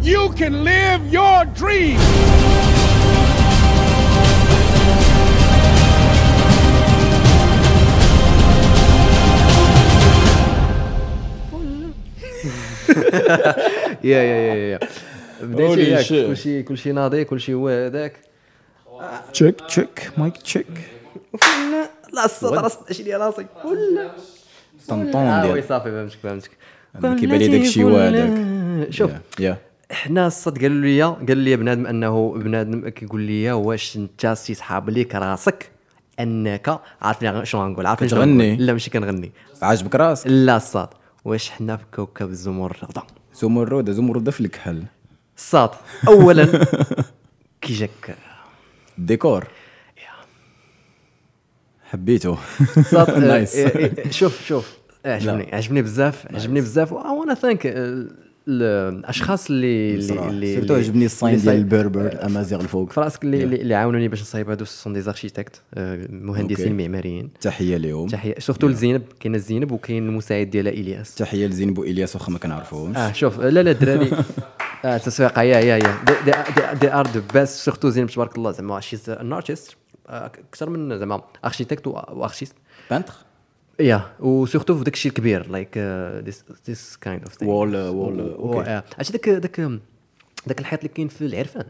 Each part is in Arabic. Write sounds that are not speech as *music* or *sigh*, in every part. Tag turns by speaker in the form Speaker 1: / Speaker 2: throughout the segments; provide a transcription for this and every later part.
Speaker 1: you can live your dream.
Speaker 2: يا يا يا يا بديت
Speaker 3: Holy
Speaker 2: ياك
Speaker 3: shit.
Speaker 2: كلشي كلشي ناضي كلشي هو هذاك
Speaker 3: تشيك تشيك مايك تشيك
Speaker 2: لا الصوت راه 16 ديال راسي ولا
Speaker 3: طنطون
Speaker 2: آه، وي
Speaker 3: ديال
Speaker 2: صافي فهمتك فهمتك
Speaker 3: أنا كيبان لي داك الشيء هو هذاك
Speaker 2: شوف
Speaker 3: يا- يا
Speaker 2: حنا الصد قالوا لي قال لي بنادم انه بنادم كيقول لي واش انت تيسحاب ليك راسك انك عارفني شنو غنقول عارفني شنو
Speaker 3: كتغني؟
Speaker 2: غنقول؟ لا ماشي كنغني
Speaker 3: عاجبك راسك
Speaker 2: لا الصاد واش حنا في كوكب الزمرد
Speaker 3: زمرد زمرد في الكحل
Speaker 2: الصاد
Speaker 3: *laughs*
Speaker 2: اولا كي جاك
Speaker 3: الديكور حبيته *laughs*
Speaker 2: صاد
Speaker 3: نايس
Speaker 2: آه، إيه، شوف شوف آه، عجبني عجبني بزاف عجبني بزاف وانا ثانك الاشخاص آه، اللي اللي اللي
Speaker 3: سيرتو
Speaker 2: اللي- آه،
Speaker 3: عجبني الصاين
Speaker 2: اللي
Speaker 3: ديال
Speaker 2: صايب-
Speaker 3: البربر الامازيغ الفوق
Speaker 2: في راسك اللي اللي اللي عاونوني باش نصايب هادو سون دي زاركتيكت آه، مهندسين
Speaker 3: أوكي.
Speaker 2: معماريين
Speaker 3: تحيه ليهم
Speaker 2: تحيه سورتو لزينب كاين الزينب وكاين المساعد ديالها الياس
Speaker 3: تحيه لزينب والياس واخا ما كنعرفوهمش
Speaker 2: اه شوف لا لا الدراري
Speaker 3: *laughs*
Speaker 2: اه تسويق يا يا يا دي ار دو بيست سورتو زين تبارك الله زعما شيز ان ارتست اكثر آه، من زعما اركيتكت وارشيست
Speaker 3: بانتر
Speaker 2: يا وسورتو في داك الشيء الكبير uh, لايك ذيس كايند اوف
Speaker 3: Wall, uh, wall, uh, okay.
Speaker 2: عرفتي داك داك داك الحيط اللي كاين في العرفان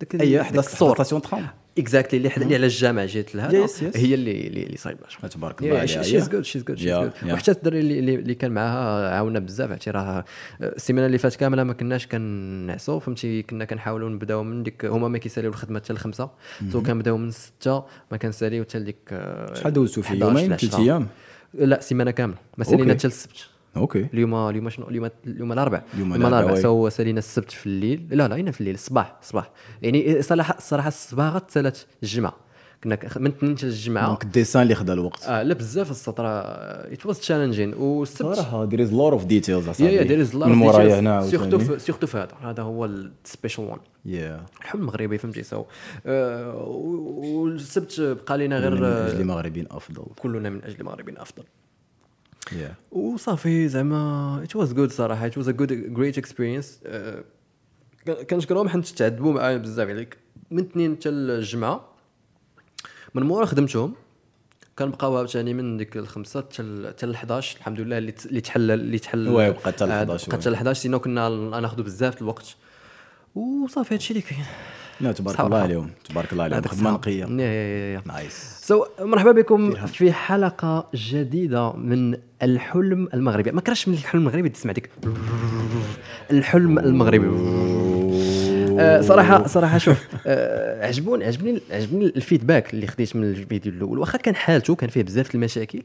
Speaker 2: داك
Speaker 3: اي
Speaker 2: داك
Speaker 3: أيوة، حدا
Speaker 2: السور
Speaker 3: ستاسيون ترام
Speaker 2: اكزاكتلي اللي حدا- اللي على الجامع جيت لها
Speaker 3: Yes, yes.
Speaker 2: هي اللي اللي اللي صايبه
Speaker 3: تبارك الله عليها.
Speaker 2: شيز
Speaker 3: Yeah.
Speaker 2: جود شيز جود شيز
Speaker 3: Yeah,
Speaker 2: جود
Speaker 3: yeah.
Speaker 2: وحتى الدري اللي اللي- اللي كان معاها عاونا بزاف عرفتي راه السيمانه اللي فاتت كامله ما كناش كنعسو فهمتي كنا كنحاولوا نبداو من ديك هما ما كيساليو الخدمه حتى لخمسه سو كنبداو من سته ما كنساليو حتى لديك آه،
Speaker 3: شحال دوزتو فيه؟
Speaker 2: 11
Speaker 3: يومين؟
Speaker 2: العشرة.
Speaker 3: ثلاث أيام؟
Speaker 2: لا سيمانه كامله ما سالينا
Speaker 3: أوكي.
Speaker 2: حتى السبت
Speaker 3: اوكي
Speaker 2: اليوم اليوم شنو اليوم اليوم الاربعاء
Speaker 3: اليوم الأربعاء،
Speaker 2: الاربعاء
Speaker 3: وي.
Speaker 2: سو سالينا السبت في الليل لا لا هنا في الليل الصباح الصباح يعني صراحه الصراحه الصباغه تسالات الجمعه كنا ك- من الاثنين حتى الجمعه
Speaker 3: دونك الديسان اللي خدا الوقت
Speaker 2: آه لا بزاف السطر ات واز تشالنجين والسبت
Speaker 3: صراحه دير از لور اوف ديتيلز
Speaker 2: يا يا دير از
Speaker 3: من مورايا هنا
Speaker 2: سيرتو
Speaker 3: عاوتاني.
Speaker 2: في- سيرتو في هذا هذا هو السبيشال وان
Speaker 3: يا
Speaker 2: الحلم المغربي فهمتي سو آه، و- والسبت بقى لينا
Speaker 3: من
Speaker 2: غير
Speaker 3: اجل
Speaker 2: آه،
Speaker 3: المغربيين افضل
Speaker 2: كلنا من اجل المغربين افضل
Speaker 3: يا
Speaker 2: وصافي زعما ات واز جود صراحه ات واز ا جود جريت اكسبيرينس آه، كنشكرهم حيت تعذبوا معايا بزاف عليك من الاثنين حتى الجمعه من مورا خدمتهم كنبقاو عاوتاني من ديك الخمسه حتى ال- حتى ال 11 الحمد لله اللي ت- اللي تحل اللي تحل
Speaker 3: وي، بقى حتى ال
Speaker 2: آه،
Speaker 3: 11
Speaker 2: بقى حتى ال 11 سينو كنا ناخذ بزاف الوقت وصافي هادشي اللي كاين
Speaker 3: لا تبارك
Speaker 2: صراحة.
Speaker 3: الله عليهم تبارك الله عليهم
Speaker 2: هذاك
Speaker 3: خدمه
Speaker 2: صعب.
Speaker 3: نقيه
Speaker 2: يا- يا- يا- يا.
Speaker 3: نايس
Speaker 2: سو so, مرحبا بكم في حلقه جديده من الحلم المغربي ما كرهتش من الحلم المغربي تسمع ديك الحلم المغربي آه، صراحه صراحه شوف آه، عجبوني عجبني عجبني الفيدباك اللي خديت من الفيديو الاول واخا كان حالته كان فيه بزاف المشاكل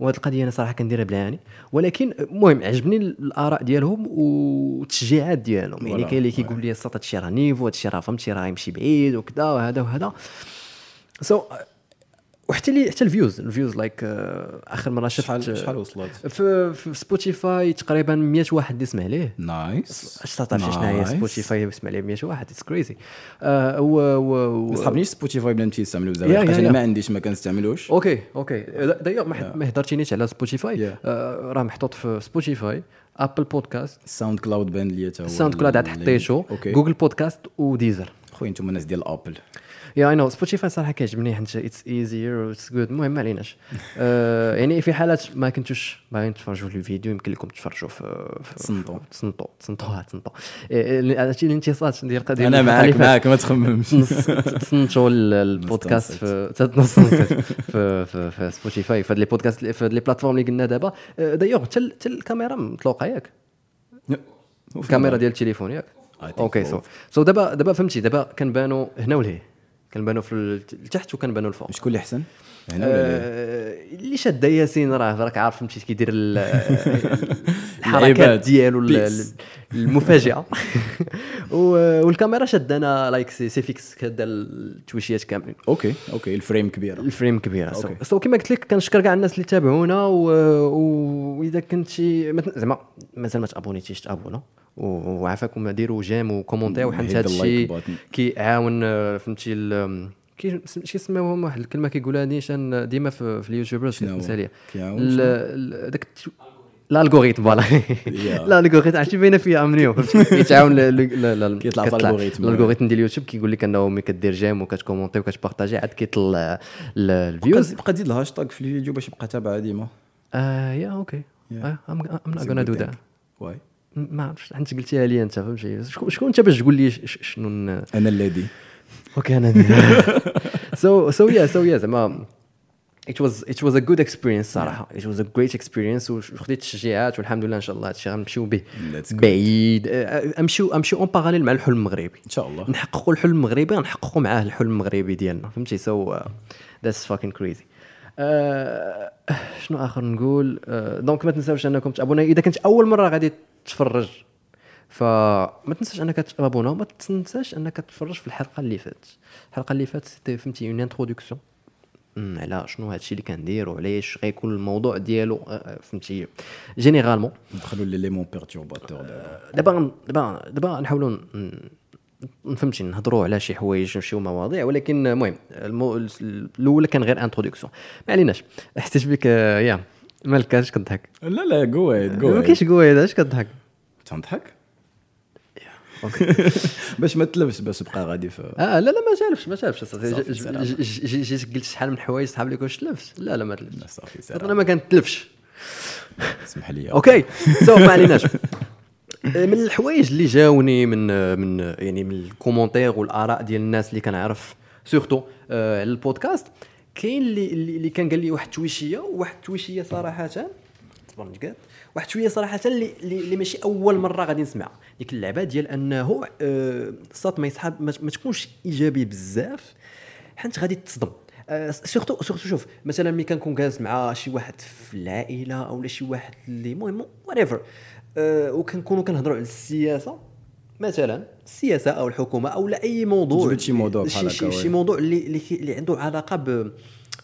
Speaker 2: وهاد القضيه انا صراحه كنديرها بالعاني ولكن المهم عجبني الاراء ديالهم والتشجيعات ديالهم يعني
Speaker 3: Voilà.
Speaker 2: كاين اللي كيقول لي السطا هادشي راه نيفو هادشي راه فهمتي راه يمشي بعيد وكذا وهذا وهذا سو so, وحتى لي حتى الفيوز الفيوز لايك اخر مره آه، شفت آه،
Speaker 3: شحال شحال وصلت
Speaker 2: في, في سبوتيفاي تقريبا 100 واحد اللي سمع ليه
Speaker 3: نايس
Speaker 2: اش تعرف شنو هي
Speaker 3: نايس.
Speaker 2: سبوتيفاي يسمع ليه 100 واحد آه، اتس كريزي و و-
Speaker 3: ما
Speaker 2: و-
Speaker 3: صحابنيش سبوتيفاي بلا ما تيستعملوا
Speaker 2: يا-
Speaker 3: زعما
Speaker 2: يا-
Speaker 3: حيت
Speaker 2: يا.
Speaker 3: انا ما عنديش ما كنستعملوش
Speaker 2: اوكي اوكي دايوغ ما حد- ما هضرتينيش على سبوتيفاي
Speaker 3: Yeah.
Speaker 2: آه، راه محطوط في سبوتيفاي ابل بودكاست
Speaker 3: الساوند كلاود بان ليا تا هو
Speaker 2: ساوند كلاود عاد
Speaker 3: اللي-
Speaker 2: حطيتو
Speaker 3: اوكي
Speaker 2: جوجل بودكاست وديزر
Speaker 3: خويا انتم الناس ديال ابل
Speaker 2: يا اي نو سبوتيفاي صراحه كيعجبني حيت اتس ايزير واتس جود المهم ما عليناش آه، يعني في حالات ما كنتوش باغيين تفرجوا في الفيديو يمكن لكم تفرجوا في في-
Speaker 3: تصنتو.
Speaker 2: في- تصنتو تصنتوها تصنتو إيه، عرفتي الانتصات ديال القضيه
Speaker 3: انا
Speaker 2: اللي
Speaker 3: معاك
Speaker 2: فاتت.
Speaker 3: معاك ما تخممش *laughs*
Speaker 2: تنص- تصنتوا ال- البودكاست في تنصنصت في في, في سبوتيفاي في هاد لي بودكاست في هاد لي بلاتفورم اللي قلنا دابا آه، دايوغ حتى ال- حتى الكاميرا مطلوقه ياك الكاميرا ديال التليفون ياك
Speaker 3: I think
Speaker 2: اوكي
Speaker 3: both.
Speaker 2: سو سو دابا دابا فهمتي دابا كنبانو هنا ولهي كنبانو في ال- التحت وكنبانو الفوق
Speaker 3: شكون اللي احسن هنا ولا لا
Speaker 2: آه، اللي شاد ياسين راه راك عارف فهمتي كيدير
Speaker 3: *laughs*
Speaker 2: ال-
Speaker 3: العباد.
Speaker 2: الحركات ديالو ال- ال-
Speaker 3: Peace.
Speaker 2: المفاجئه *laughs* و- والكاميرا شدانا لايك سي سي فيكس كدا التويشيات كاملين
Speaker 3: اوكي اوكي الفريم كبيره
Speaker 2: الفريم كبيره سو
Speaker 3: أوكي.
Speaker 2: سو كما قلت لك كنشكر كاع الناس اللي تابعونا و- و- واذا كنتي مت- زعما مازال ما تابونيتيش تابونا و- وعافاكم ديروا جيم وكومونتيو حيت
Speaker 3: Hit the
Speaker 2: هذا
Speaker 3: like
Speaker 2: الشيء
Speaker 3: button.
Speaker 2: كيعاون آه، فهمتي ال- كي كيسميوهم واحد الكلمه كيقولها نيشان ديما في, في اليوتيوبرز
Speaker 3: شنو هو؟
Speaker 2: مثاليه
Speaker 3: كيعاون
Speaker 2: ال- ال- داك الت- الالغوريثم فوالا *laughs* الالغوريثم عرفتي باينه فيها من اليوم فهمتي؟
Speaker 3: *laughs*
Speaker 2: كيتعاون ل- ل- ل- ل-
Speaker 3: كيطلع في
Speaker 2: كتطلع.
Speaker 3: الألغوريثم.
Speaker 2: الالغوريثم ديال اليوتيوب كيقول لك انه ملي كدير جيم وكتكومونتي وكتبارطاجي عاد كيطلع ال- الفيوز
Speaker 3: بقى زيد الهاشتاغ في اليوتيوب باش يبقى تابعه ديما
Speaker 2: آه يا اوكي
Speaker 3: Yeah.
Speaker 2: ام
Speaker 3: It's
Speaker 2: نوت
Speaker 3: a
Speaker 2: غانا
Speaker 3: good
Speaker 2: دو
Speaker 3: thing.
Speaker 2: ذات
Speaker 3: Why?
Speaker 2: ما عرفتش انت قلتيها لي انت فهمتي شكون شكون انت باش تقول لي ش- ش- شنو
Speaker 3: *laughs*
Speaker 2: ن-
Speaker 3: انا الذي
Speaker 2: اوكي انا *laughs* سو سو يا سو يا زعما it was it was a good experience صراحه it was a great experience وخديت التشجيعات والحمد لله ان شاء الله هادشي غنمشيو به
Speaker 3: That's good.
Speaker 2: بعيد أه، امشيو امشيو اون باراليل مع الحلم المغربي
Speaker 3: ان شاء الله
Speaker 2: نحققوا الحلم المغربي غنحققوا معاه الحلم المغربي ديالنا فهمتي سو uh, ذاتس فاكين كريزي Uh, شنو اخر نقول آه، دونك ما تنساوش انكم تابونا اذا كنت اول مره غادي تتفرج فما تنساش انك تابونا وما تنساش انك تتفرج في الحلقه اللي فاتت الحلقه اللي فاتت سيتي فهمتي اون انتروداكسيون على شنو هادشي اللي كندير وعلاش غيكون الموضوع ديالو آه، فهمتي جينيرالمون
Speaker 3: ندخلوا ليليمون بيرتورباتور دابا
Speaker 2: دابا غن- دابا دابا نحاولوا ن- ن- فهمتي نهضروا على شي حوايج نمشيو مواضيع ولكن المهم المو... الاول كان غير انتروداكسيون ما عليناش *laughs* حسيت بك آه، يا مالك اش كضحك
Speaker 3: لا لا جو اهيد جو
Speaker 2: ما
Speaker 3: اهيد
Speaker 2: كاينش قوي هذا اش كضحك
Speaker 3: تنضحك *laughs* باش ما تلبس باش تبقى غادي في
Speaker 2: اه لا لا ما جالبش ما جالبش
Speaker 3: صافي، سلام.
Speaker 2: جيت قلت شحال من حوايج صحاب لك واش تلفش لا لا ما
Speaker 3: لا،
Speaker 2: تلفش
Speaker 3: صافي
Speaker 2: انا
Speaker 3: سلام
Speaker 2: ما كنتلفش
Speaker 3: اسمح لي
Speaker 2: اوكي سو ما عليناش آه، من الحوايج اللي جاوني من من يعني من الكومونتير والاراء ديال الناس اللي كنعرف سورتو آه، على البودكاست كاين اللي اللي اللي كان قال لي واحد التويشيه واحد التويشيه صراحه صبر نتقاد واحد شويه صراحه اللي اللي اللي ماشي اول مره غادي نسمعها ديك اللعبه ديال انه آه، الصوت ما يسحب ما ما تكونش ايجابي بزاف حيت غادي تصدم آه، سيرتو سيرتو شوف مثلا ملي كنكون جالس مع شي واحد في العائله اولا شي واحد اللي المهم وريفر وكنكونوا كنهضروا على السياسه مثلا السياسه او الحكومه او لا اي موضوع
Speaker 3: جبت شي موضوع
Speaker 2: شي,
Speaker 3: بحال هكا،
Speaker 2: شي, شي
Speaker 3: وي.
Speaker 2: موضوع اللي اللي, اللي عنده علاقه ب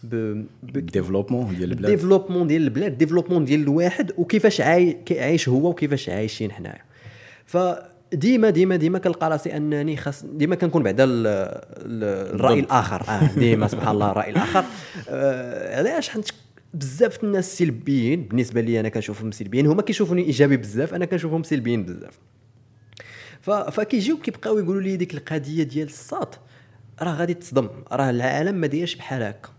Speaker 2: ب, ب
Speaker 3: الديفلوبمون ديال البلاد
Speaker 2: الديفلوبمون ديال البلاد ديفلوبمون ديال الواحد وكيفاش عاي... كي- عايش هو وكيفاش عايشين حنايا فديما ديما ديما كنلقى راسي انني خاص ديما كنكون بعدا ال... ال... الراي الاخر اه ديما سبحان الله الراي الاخر آه علاش حنت بزاف الناس سلبيين بالنسبه لي انا كنشوفهم سلبيين هما كيشوفوني ايجابي بزاف انا كنشوفهم سلبيين بزاف ف- فكيجيو كيبقاو يقولوا لي ديك القضيه ديال الساط راه غادي تصدم راه العالم ما دايرش بحال هكا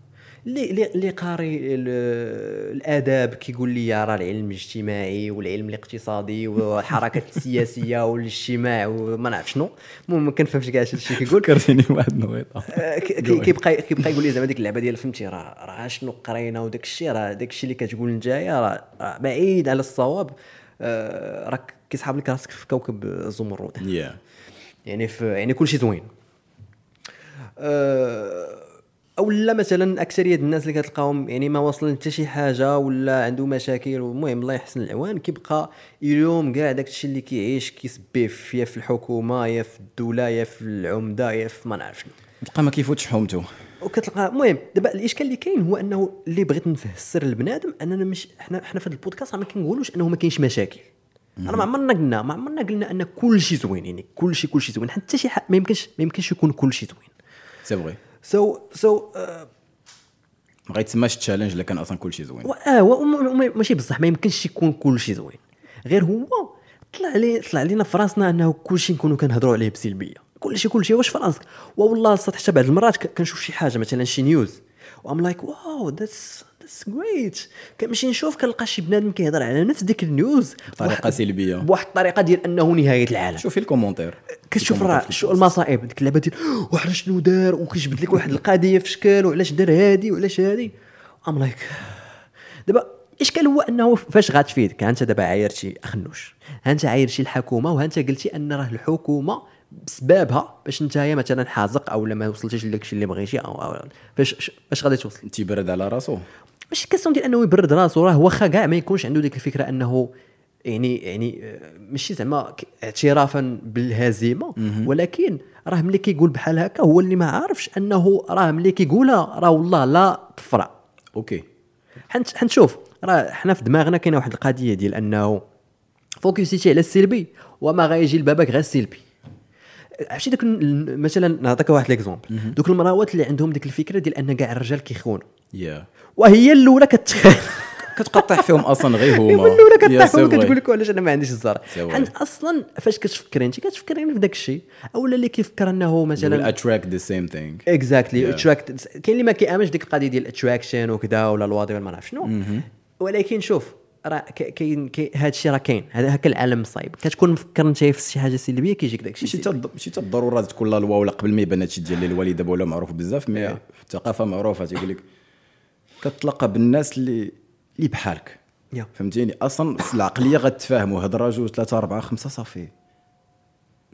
Speaker 2: اللي اللي اللي قاري ال- الاداب كيقول لي راه العلم الاجتماعي والعلم الاقتصادي والحركه السياسيه والاجتماع وما نعرف شنو المهم ما كنفهمش كاع هادشي اللي
Speaker 3: *laughs*
Speaker 2: كيقول
Speaker 3: فكرتني واحد *laughs* النويطه
Speaker 2: آه، ك- كي- كيبقى كيبقى يقول لي زعما ديك اللعبه ديال فهمتي راه راه شنو قرينا وداك الشيء راه داك الشيء اللي كتقول نتايا راه راه بعيد على الصواب آه، راك كيسحب لك راسك في كوكب الزمرد
Speaker 3: يا
Speaker 2: يعني في يعني كل شيء زوين أه، او لا مثلا اكثريه الناس اللي كتلقاهم يعني ما واصلين حتى شي حاجه ولا عنده مشاكل والمهم الله يحسن العوان كيبقى اليوم كاع داك الشيء اللي كيعيش كيسبيه في- يا في الحكومه يا في الدوله يا في العمده يا في ما نعرف شنو
Speaker 3: تلقى ما كيفوتش حومته
Speaker 2: وكتلقى المهم دابا الاشكال اللي كاين هو انه اللي بغيت نفسر لبنادم اننا مش حنا حنا في هذا البودكاست راه ما كنقولوش انه ما كاينش مشاكل انا ما عمرنا قلنا ما عمرنا قلنا ان كل شيء زوين يعني كل شيء كل شيء زوين حتى شي حق ما يمكنش ما يمكنش يكون كل شيء زوين آه،
Speaker 3: سي فغي
Speaker 2: سو سو
Speaker 3: ما غيتسماش تشالنج الا كان اصلا كلشي زوين
Speaker 2: اه و- وم- وم- ماشي بصح ما يمكنش يكون كل شيء زوين غير هو طلع عليه طلع علينا في راسنا انه كل شيء نكونوا كنهضروا عليه بسلبيه كل شيء كل شيء واش في راسك والله الصاد حتى بعض المرات ك- كنشوف شي حاجه مثلا شي نيوز وام لايك واو ذاتس ذاتس جريت كنمشي نشوف كنلقى شي بنادم كيهضر على نفس ديك النيوز
Speaker 3: بطريقة
Speaker 2: بواحد-
Speaker 3: سلبية.
Speaker 2: بواحد الطريقه ديال انه نهايه العالم
Speaker 3: شوفي الكومونتير
Speaker 2: كتشوف
Speaker 3: الكومونتير
Speaker 2: راه
Speaker 3: في
Speaker 2: شو
Speaker 3: البوست.
Speaker 2: المصائب ديك اللعبه ديال وعلاش شنو دار وكيجبد لك واحد القضيه في شكل وعلاش دار هادي وعلاش هادي ام لايك دابا الاشكال هو انه فاش غاتفيدك ها انت دابا عايرتي اخنوش ها انت عايرتي الحكومه وها انت قلتي ان راه الحكومه بسببها باش انت هي مثلا حازق او لا ما وصلتيش لداكشي اللي بغيتي او, أو فاش فاش غادي توصل
Speaker 3: تيبرد على راسو
Speaker 2: ماشي كاستون ديال انه يبرد راسو راه واخا كاع ما يكونش عنده ديك الفكره انه يعني يعني آه، ماشي زعما ك- اعترافا بالهزيمه ولكن راه ملي كيقول بحال هكا هو اللي ما عارفش انه راه ملي كيقولها راه والله لا طفره
Speaker 3: اوكي
Speaker 2: حنت حنشوف راه حنا في دماغنا كاينه واحد القضيه ديال انه فوكسيتي على السلبي وما غايجي لبابك غير السلبي عرفتي داك ال- مثلا نعطيك واحد ليكزومبل دوك المراوات اللي عندهم ديك الفكره ديال ان كاع الرجال كيخونوا
Speaker 3: يا
Speaker 2: وهي الاولى كتخاف
Speaker 3: كتقطع فيهم
Speaker 2: *laughs*
Speaker 3: اصلا غير هما
Speaker 2: يولوا لك
Speaker 3: يا
Speaker 2: كطيحهم
Speaker 3: سي
Speaker 2: كتقول
Speaker 3: فري.
Speaker 2: لك علاش انا ما عنديش الزهر
Speaker 3: سي فري.
Speaker 2: حيت اصلا فاش كتفكر انت كتفكر يعني في داك الشيء اولا اللي كيفكر انه
Speaker 3: will
Speaker 2: مثلا
Speaker 3: attract the same thing
Speaker 2: اكزاكتلي
Speaker 3: Yeah.
Speaker 2: اتراكت كاين اللي ما كيامنش ديك القضيه ديال الاتراكشن وكذا ولا الواضي ولا ما نعرف شنو ولكن شوف راه ك- كاين كاين- هذا الشيء راه كاين هذا هكا العالم صايب كتكون مفكر انت في شي حاجه سلبيه كيجيك داك
Speaker 3: ماشي
Speaker 2: الشيء
Speaker 3: تا ماشي تا الضروره تكون لا لوا ولا قبل ما يبان هادشي ديال الوالد دابا ولا معروف بزاف مي
Speaker 2: Yeah.
Speaker 3: في الثقافه معروفه تيقول لك كتلاقى بالناس اللي اللي بحالك
Speaker 2: Yeah.
Speaker 3: فهمتيني اصلا في العقليه غتفاهموا هضره جوج ثلاثه اربعه خمسه صافي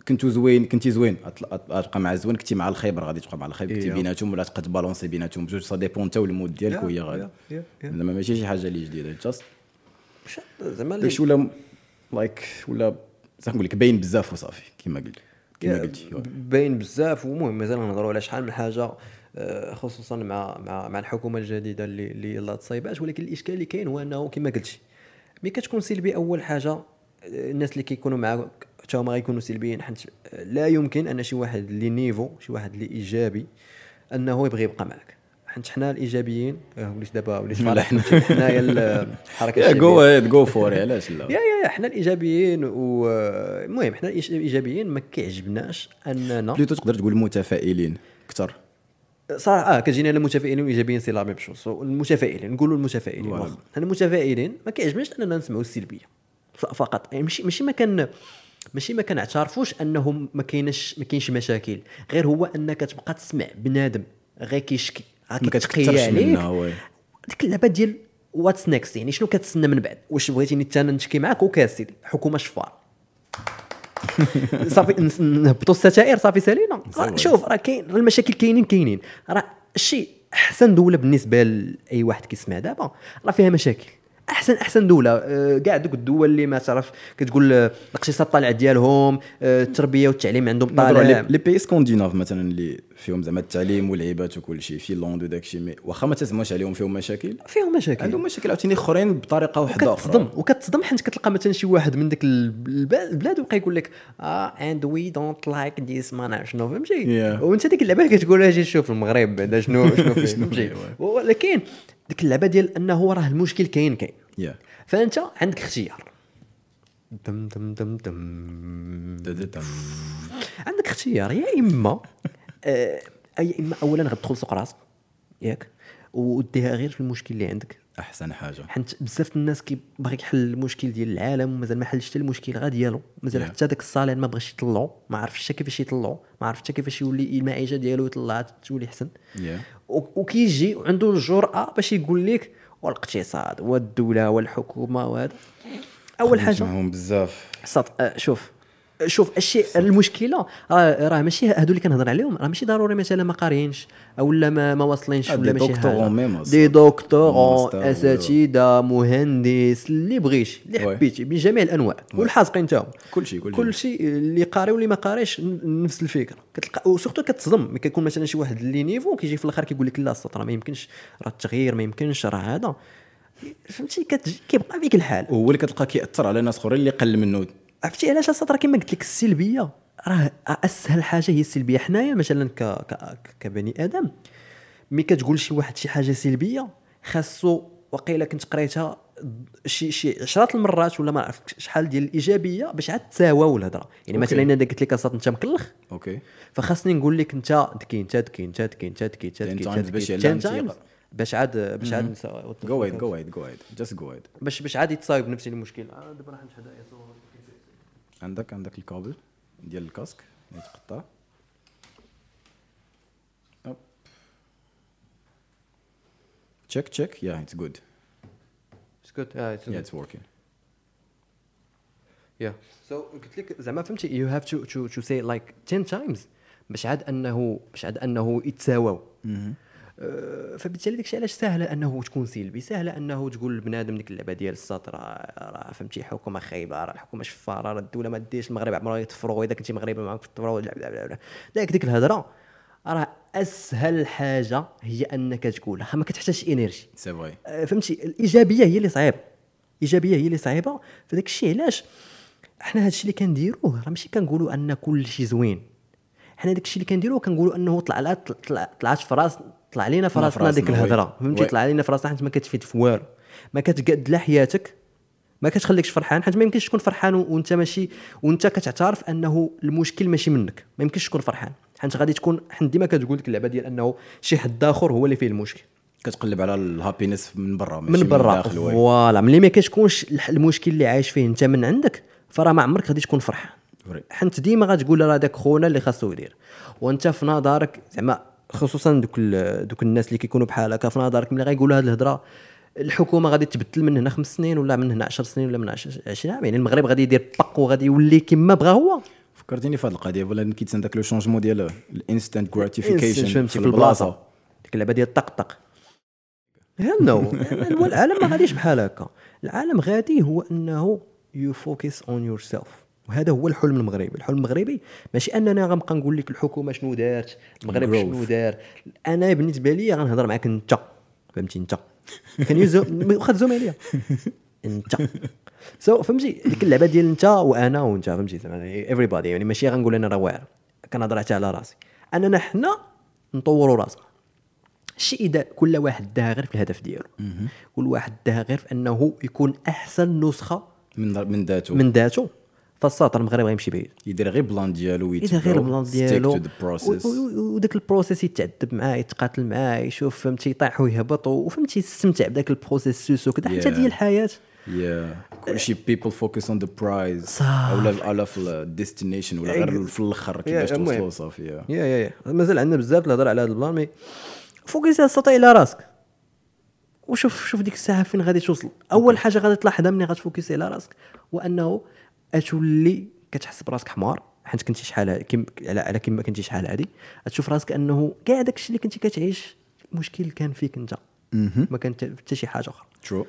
Speaker 3: كنتو زوين كنتي زوين أطل- أط- غتبقى مع الزوين كنتي مع الخايب راه غادي تبقى مع الخايب كنتي
Speaker 2: Yeah.
Speaker 3: بيناتهم ولا تبقى تبالونسي بيناتهم بجوج سا ديبون انت والمود
Speaker 2: Yeah,
Speaker 3: ديالك وهي غادي
Speaker 2: yeah, yeah, yeah.
Speaker 3: زعما ماشي شي حاجه اللي جديده جاست
Speaker 2: زعما اللي-
Speaker 3: داكشي ولا لايك ولا صح نقول لك باين بزاف وصافي كما قلت كما
Speaker 2: Yeah,
Speaker 3: قلتي
Speaker 2: ب- باين بزاف ومهم مازال نهضروا على شحال من حاجه آه، خصوصا مع مع مع الحكومه الجديده اللي اللي يلا تصايبات ولكن الاشكال اللي كاين هو انه كما قلتي ملي كتكون سلبي اول حاجه آه، الناس اللي كيكونوا معاك حتى هما غيكونوا سلبيين حيت آه، لا يمكن ان شي واحد اللي نيفو شي واحد اللي ايجابي انه يبغي يبقى معك حيت حنا الايجابيين آه، وليت دابا وليت
Speaker 3: لا،
Speaker 2: فالح
Speaker 3: حنا-
Speaker 2: حنايا الحركه
Speaker 3: يا
Speaker 2: الشعبية.
Speaker 3: جو هيد جو فور *laughs* علاش
Speaker 2: يا
Speaker 3: لا
Speaker 2: يا يا حنا الايجابيين والمهم حنا الإيش- الايجابيين ما كيعجبناش اننا
Speaker 3: بليتو تقدر تقول متفائلين اكثر
Speaker 2: صراحه اه كتجينا على المتفائلين والايجابيين سي لا ميم شوز المتفائلين نقولوا المتفائلين
Speaker 3: فوالا.
Speaker 2: واخا حنا المتفائلين ما كيعجبناش اننا نسمعوا السلبيه ف- فقط يعني ماشي ماشي ما كان ماشي ما كنعترفوش انهم ما كاينش ما كاينش مشاكل غير هو انك تبقى تسمع بنادم غير كيشكي غير
Speaker 3: ما
Speaker 2: كيتقي
Speaker 3: كتكثرش
Speaker 2: عليك
Speaker 3: منه، وي.
Speaker 2: ديك اللعبه ديال واتس نيكست يعني شنو كتسنى من بعد واش بغيتيني حتى انا نشكي معاك اوكي سيدي حكومه شفار صافي نس- نهبطوا الستائر صافي سالينا راه شوف راه كاين راه المشاكل كاينين كاينين راه الشيء احسن دوله بالنسبه لاي واحد كيسمع دابا راه فيها مشاكل احسن احسن دوله آه، كاع دوك الدول اللي ما تعرف كتقول آه، الاقتصاد طالع ديالهم آه، التربيه والتعليم عندهم
Speaker 3: نهضروا على
Speaker 2: طالع
Speaker 3: لي بي سكونديناف مثلا اللي فيهم زعما التعليم والعيبات وكل شيء فينلاند وداك الشيء مي واخا ما تسمعوش عليهم فيهم مشاكل
Speaker 2: فيهم مشاكل
Speaker 3: عندهم مشاكل عاوتاني اخرين بطريقه واحده
Speaker 2: وكتصدم
Speaker 3: اخرى
Speaker 2: وكتصدم حيت كتلقى مثلا شي واحد من ديك الب- البلاد وبقى يقول لك اه اند وي دونت لايك ذيس ما نعرف شنو فهمتي
Speaker 3: Yeah.
Speaker 2: وانت ديك اللعبه كتقول اجي شوف المغرب بعدا
Speaker 3: *laughs*
Speaker 2: شنو شنو فيه
Speaker 3: شنو
Speaker 2: فهمتي
Speaker 3: فيه،
Speaker 2: ولكن ديك اللعبه ديال انه راه المشكل كاين كاين
Speaker 3: Yeah.
Speaker 2: فانت عندك اختيار دم دم دم دم
Speaker 3: دا- دا- دا.
Speaker 2: عندك اختيار يا اما آه، يا اما اولا غتدخل سوق راسك ياك وديها غير في المشكل اللي عندك
Speaker 3: احسن حاجه
Speaker 2: حيت بزاف الناس كيبغي يحل المشكل ديال العالم ومازال ما حلش حتى المشكل غا ديالو مازال
Speaker 3: Yeah.
Speaker 2: حتى داك الصالير ما بغاش يطلعو ما عرفش حتى كيفاش يطلعو ما عرف حتى كيفاش يولي المعيشه ديالو يطلع تولي حسن
Speaker 3: Yeah.
Speaker 2: و- وكيجي وعنده الجرأه باش يقول لك والاقتصاد والدوله والحكومه وهذا اول حاجه
Speaker 3: معهم بزاف
Speaker 2: صط... آه، شوف شوف الشيء المشكله راه راه ماشي هادو اللي كنهضر عليهم راه ماشي ضروري مثلا ما قاريينش اولا ما ما واصلينش
Speaker 3: آه،
Speaker 2: ولا
Speaker 3: دي
Speaker 2: ماشي
Speaker 3: دكتورون
Speaker 2: حاجة.
Speaker 3: ميم أصلاً.
Speaker 2: دي دكتورون
Speaker 3: ماستر ولا-
Speaker 2: اساتذه مهندس اللي بغيتي اللي
Speaker 3: وي.
Speaker 2: حبيتي من جميع الانواع والحاسقين تا هما
Speaker 3: كلشي- كلشي.
Speaker 2: كلشي اللي قاري واللي ما قاريش ن- نفس الفكره كتلقى وسورتو كتصدم ملي كيكون مثلا شي واحد اللي نيفو كيجي في الاخر كيقول لك لا السطر ما يمكنش راه التغيير ما يمكنش راه هذا فهمتي كتجي- كيبقى فيك الحال
Speaker 3: وهو اللي كتلقى كياثر على ناس اخرين اللي قل منه
Speaker 2: عرفتي علاش السطر كما قلت لك السلبيه راه اسهل حاجه هي السلبيه حنايا مثلا ك... ك... كبني ادم ملي كتقول شي واحد شي حاجه سلبيه خاصو وقيلا كنت قريتها شي شي عشرات المرات ولا ما عرفت شحال ديال الايجابيه باش عاد تساواو الهضره يعني مثلا
Speaker 3: أوكي.
Speaker 2: انا قلت لك السطر انت مكلخ
Speaker 3: اوكي
Speaker 2: فخاصني نقول لك انت تكين انت تكين انت تكين انت تكين انت
Speaker 3: Ten
Speaker 2: تكين انت
Speaker 3: times يعني باش
Speaker 2: تكين
Speaker 3: يعلم
Speaker 2: ten
Speaker 3: تيقرأ.
Speaker 2: times باش عاد باش عاد نساواو
Speaker 3: جو هيد جو هيد جو هيد جاست جو هيد
Speaker 2: باش باش عاد يتصايب نفس المشكل آه، دابا راح نشهد آية صغيرة.
Speaker 3: عندك عندك الكابل ديال الكاسك اللي تقطع تشيك تشيك يا اتس جود
Speaker 2: اسكت اه it's
Speaker 3: يا
Speaker 2: okay.
Speaker 3: اتس وركين
Speaker 2: yeah so قلت لك زعما فهمتي you have to to to say it like 10 times باش عاد انه باش عاد انه يتساواو آه، فبالتالي داكشي علاش سهله انه تكون سلبي سهله انه تقول لبنادم ديك اللعبه ديال السطر راه راه فهمتي حكومه خايبه راه الحكومه شفاره راه الدوله ما ديش المغرب عمرها يتفرغوا اذا كنتي مغربي معاك في الثوره بلا بلا بلا بلا داك ديك الهضره راه اسهل حاجه هي انك تقولها ما كتحتاجش انرجي
Speaker 3: سي فري
Speaker 2: آه، فهمتي الايجابيه هي اللي صعيبه الايجابيه هي اللي صعيبه فداك الشيء علاش حنا هذا الشيء اللي كنديروه راه ماشي كنقولوا ان كل شيء زوين حنا داك الشيء اللي كنديروه كنقولوا انه طلع لا طلع طلعت في راس طلع لينا في
Speaker 3: طلع في
Speaker 2: راسنا ديك
Speaker 3: راسنا، وي.
Speaker 2: الهضره فهمتي
Speaker 3: وي.
Speaker 2: طلع لينا في راسنا حيت ما كتفيد في والو ما كتقاد لا حياتك ما كتخليكش فرحان حيت ما يمكنش تكون فرحان و- وانت ماشي وانت كتعترف انه المشكل ماشي منك ما يمكنش تكون فرحان حيت غادي تكون حنا ديما كتقول لك اللعبه ديال انه شي حد اخر هو اللي فيه المشكل
Speaker 3: كتقلب على الهابينس من برا ماشي
Speaker 2: من برا
Speaker 3: الداخل، وي.
Speaker 2: فوالا ملي ما كتكونش الح- المشكل اللي عايش فيه انت من عندك فراه ما عمرك غادي تكون فرحان
Speaker 3: وري.
Speaker 2: حنت ديما غتقول راه داك خونا اللي خاصو يدير وانت في نظرك زعما خصوصا دوك ال- دوك الناس اللي كيكونوا بحال هكا في نظرك ملي غايقولوا هاد الهضره الحكومه غادي تبدل من هنا خمس سنين ولا من هنا 10 سنين ولا من 20 عام يعني المغرب غادي يدير طق وغادي يولي كما بغا هو
Speaker 3: فكرتيني في هذه القضيه ولا كيتسنى داك لو شونجمون ديال
Speaker 2: إنسان
Speaker 3: الانستانت جراتيفيكيشن
Speaker 2: فهمتي في البلاصه ديك اللعبه ديال الطقطق هل نو *laughs* هو العالم ما غاديش بحال هكا العالم غادي هو انه يو فوكس اون يور سيلف وهذا هو الحلم المغربي الحلم المغربي ماشي اننا غنبقى نقول لك الحكومه شنو دارت المغرب
Speaker 3: Growth.
Speaker 2: شنو دار انا بالنسبه لي غنهضر معاك انت فهمتي انت كان يوزو *laughs* واخا تزوم عليا انت سو so, فهمتي ديك اللعبه ديال انت وانا وانت فهمتي زعما ايفري بادي يعني ماشي غنقول انا راه واعر كنهضر حتى على راسي اننا حنا نطوروا راسنا الشيء اذا كل واحد داها غير في الهدف ديالو كل واحد داها غير في انه يكون احسن نسخه
Speaker 3: من من ذاته
Speaker 2: من ذاته فالساطر المغرب غيمشي بعيد
Speaker 3: يدير غير بلان ديالو
Speaker 2: اذا غير
Speaker 3: ويتبعو.
Speaker 2: البلان
Speaker 3: Stick
Speaker 2: ديالو
Speaker 3: to the process.
Speaker 2: و- و- و- وداك البروسيس يتعذب معاه يتقاتل معاه يشوف فهمتي يطيح ويهبط وفهمتي يستمتع بداك البروسيسوس وكذا حتى
Speaker 3: Yeah.
Speaker 2: ديال الحياه
Speaker 3: Yeah. كلشي people focus on the prize
Speaker 2: صافي.
Speaker 3: اولا اولا في الديستنيشن ولا غير في الاخر كيفاش
Speaker 2: إيه. Yeah, المهم.
Speaker 3: توصلوا صافي yeah.
Speaker 2: يا يا يا مازال عندنا بزاف الهضره على هذا البلان مي فوكس استطيع على راسك وشوف شوف ديك الساعه فين غادي توصل اول حاجه غادي تلاحظها ملي غتفوكسي على راسك وانه اتولي كتحس براسك حمار حيت كنتي شحال ها- كم على على كما كنتي شحال هادي تشوف راسك انه كاع داكشي اللي كنتي كتعيش مشكل كان فيك انت ما كان حتى- حتى شي حاجه اخرى
Speaker 3: True.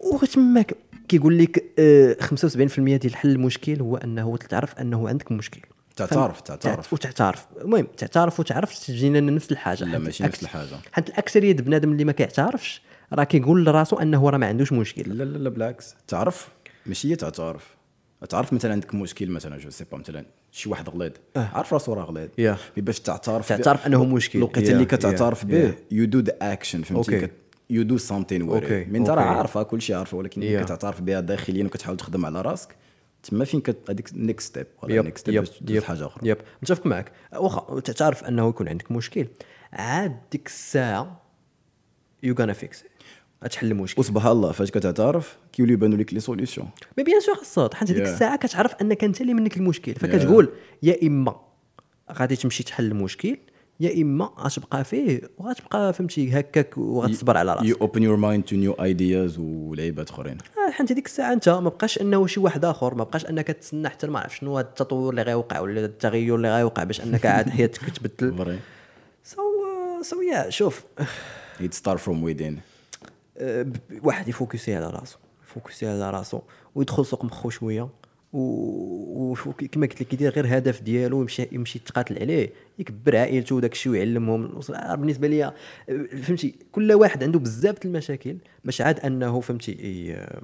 Speaker 2: وتماك كيقول لك آه، 75% ديال حل المشكل هو انه تعرف انه عندك مشكل
Speaker 3: تعترف-
Speaker 2: فم-
Speaker 3: تعترف.
Speaker 2: وتعترف المهم تعترف وتعرف تجينا نفس الحاجه
Speaker 3: لا،
Speaker 2: حيت
Speaker 3: ماشي نفس
Speaker 2: الأكس-
Speaker 3: الحاجة.
Speaker 2: حيت الاكثريه د بنادم اللي ما كيعترفش راه كيقول لراسو انه راه ما عندوش مشكل
Speaker 3: لا لا لا بالعكس تعرف ماشي هي تعترف تعرف مثلا عندك مشكل مثلا جو سي با مثلا شي واحد غلط عارف راسو راه غلط
Speaker 2: آه. Yeah.
Speaker 3: مي باش تعترف
Speaker 2: تعترف أنه مشكل.
Speaker 3: الوقت
Speaker 2: Yeah,
Speaker 3: اللي
Speaker 2: yeah,
Speaker 3: كتعترف به يو دو ذا اكشن
Speaker 2: Okay.
Speaker 3: فهمتي يو دو سامثين
Speaker 2: Okay,
Speaker 3: وير من ترى
Speaker 2: okay.
Speaker 3: عارفه كلشي عارفه ولكن
Speaker 2: Yeah.
Speaker 3: yeah. كتعترف بها داخليا وكتحاول تخدم على راسك تما فين كت هذيك نيكست ستيب ولا نيكست ستيب يعني باش تدوز حاجه اخرى
Speaker 2: يب متفق معك واخا تعترف انه يكون عندك مشكل عاد ديك الساعه يو غانا فيكس تحل المشكل
Speaker 3: وسبحان الله فاش كتعترف كيوليو يبانوا لك لي سوليسيون
Speaker 2: مي بيان سور خاصها حيت هذيك
Speaker 3: Yeah.
Speaker 2: الساعه كتعرف انك انت اللي منك المشكل فكتقول يا اما غادي تمشي تحل المشكل يا اما غتبقى فيه وغتبقى فهمتي هكاك وغتصبر على
Speaker 3: يو
Speaker 2: راسك
Speaker 3: اوبن يور مايند تو نيو ايدياز ولعيبات اخرين
Speaker 2: آه، حيت هذيك الساعه انت ما بقاش انه شي واحد اخر ما بقاش انك تسنى حتى ما عرف شنو هاد التطور اللي غيوقع ولا التغير اللي غيوقع باش انك عاد حياتك تبدل
Speaker 3: فري
Speaker 2: سو سو يا شوف
Speaker 3: ات ستار فروم ويدين
Speaker 2: آه، ب- ب- واحد يفوكسي على راسو يفوكسي على راسو ويدخل سوق مخو شويه وكما قلت لك يدير غير هدف ديالو يمشي يمشي يتقاتل عليه يكبر عائلته وداك الشيء ويعلمهم الأسرة. آه، بالنسبه ليا آه، فهمتي كل واحد عنده بزاف د المشاكل باش عاد انه فهمتي ي- آه،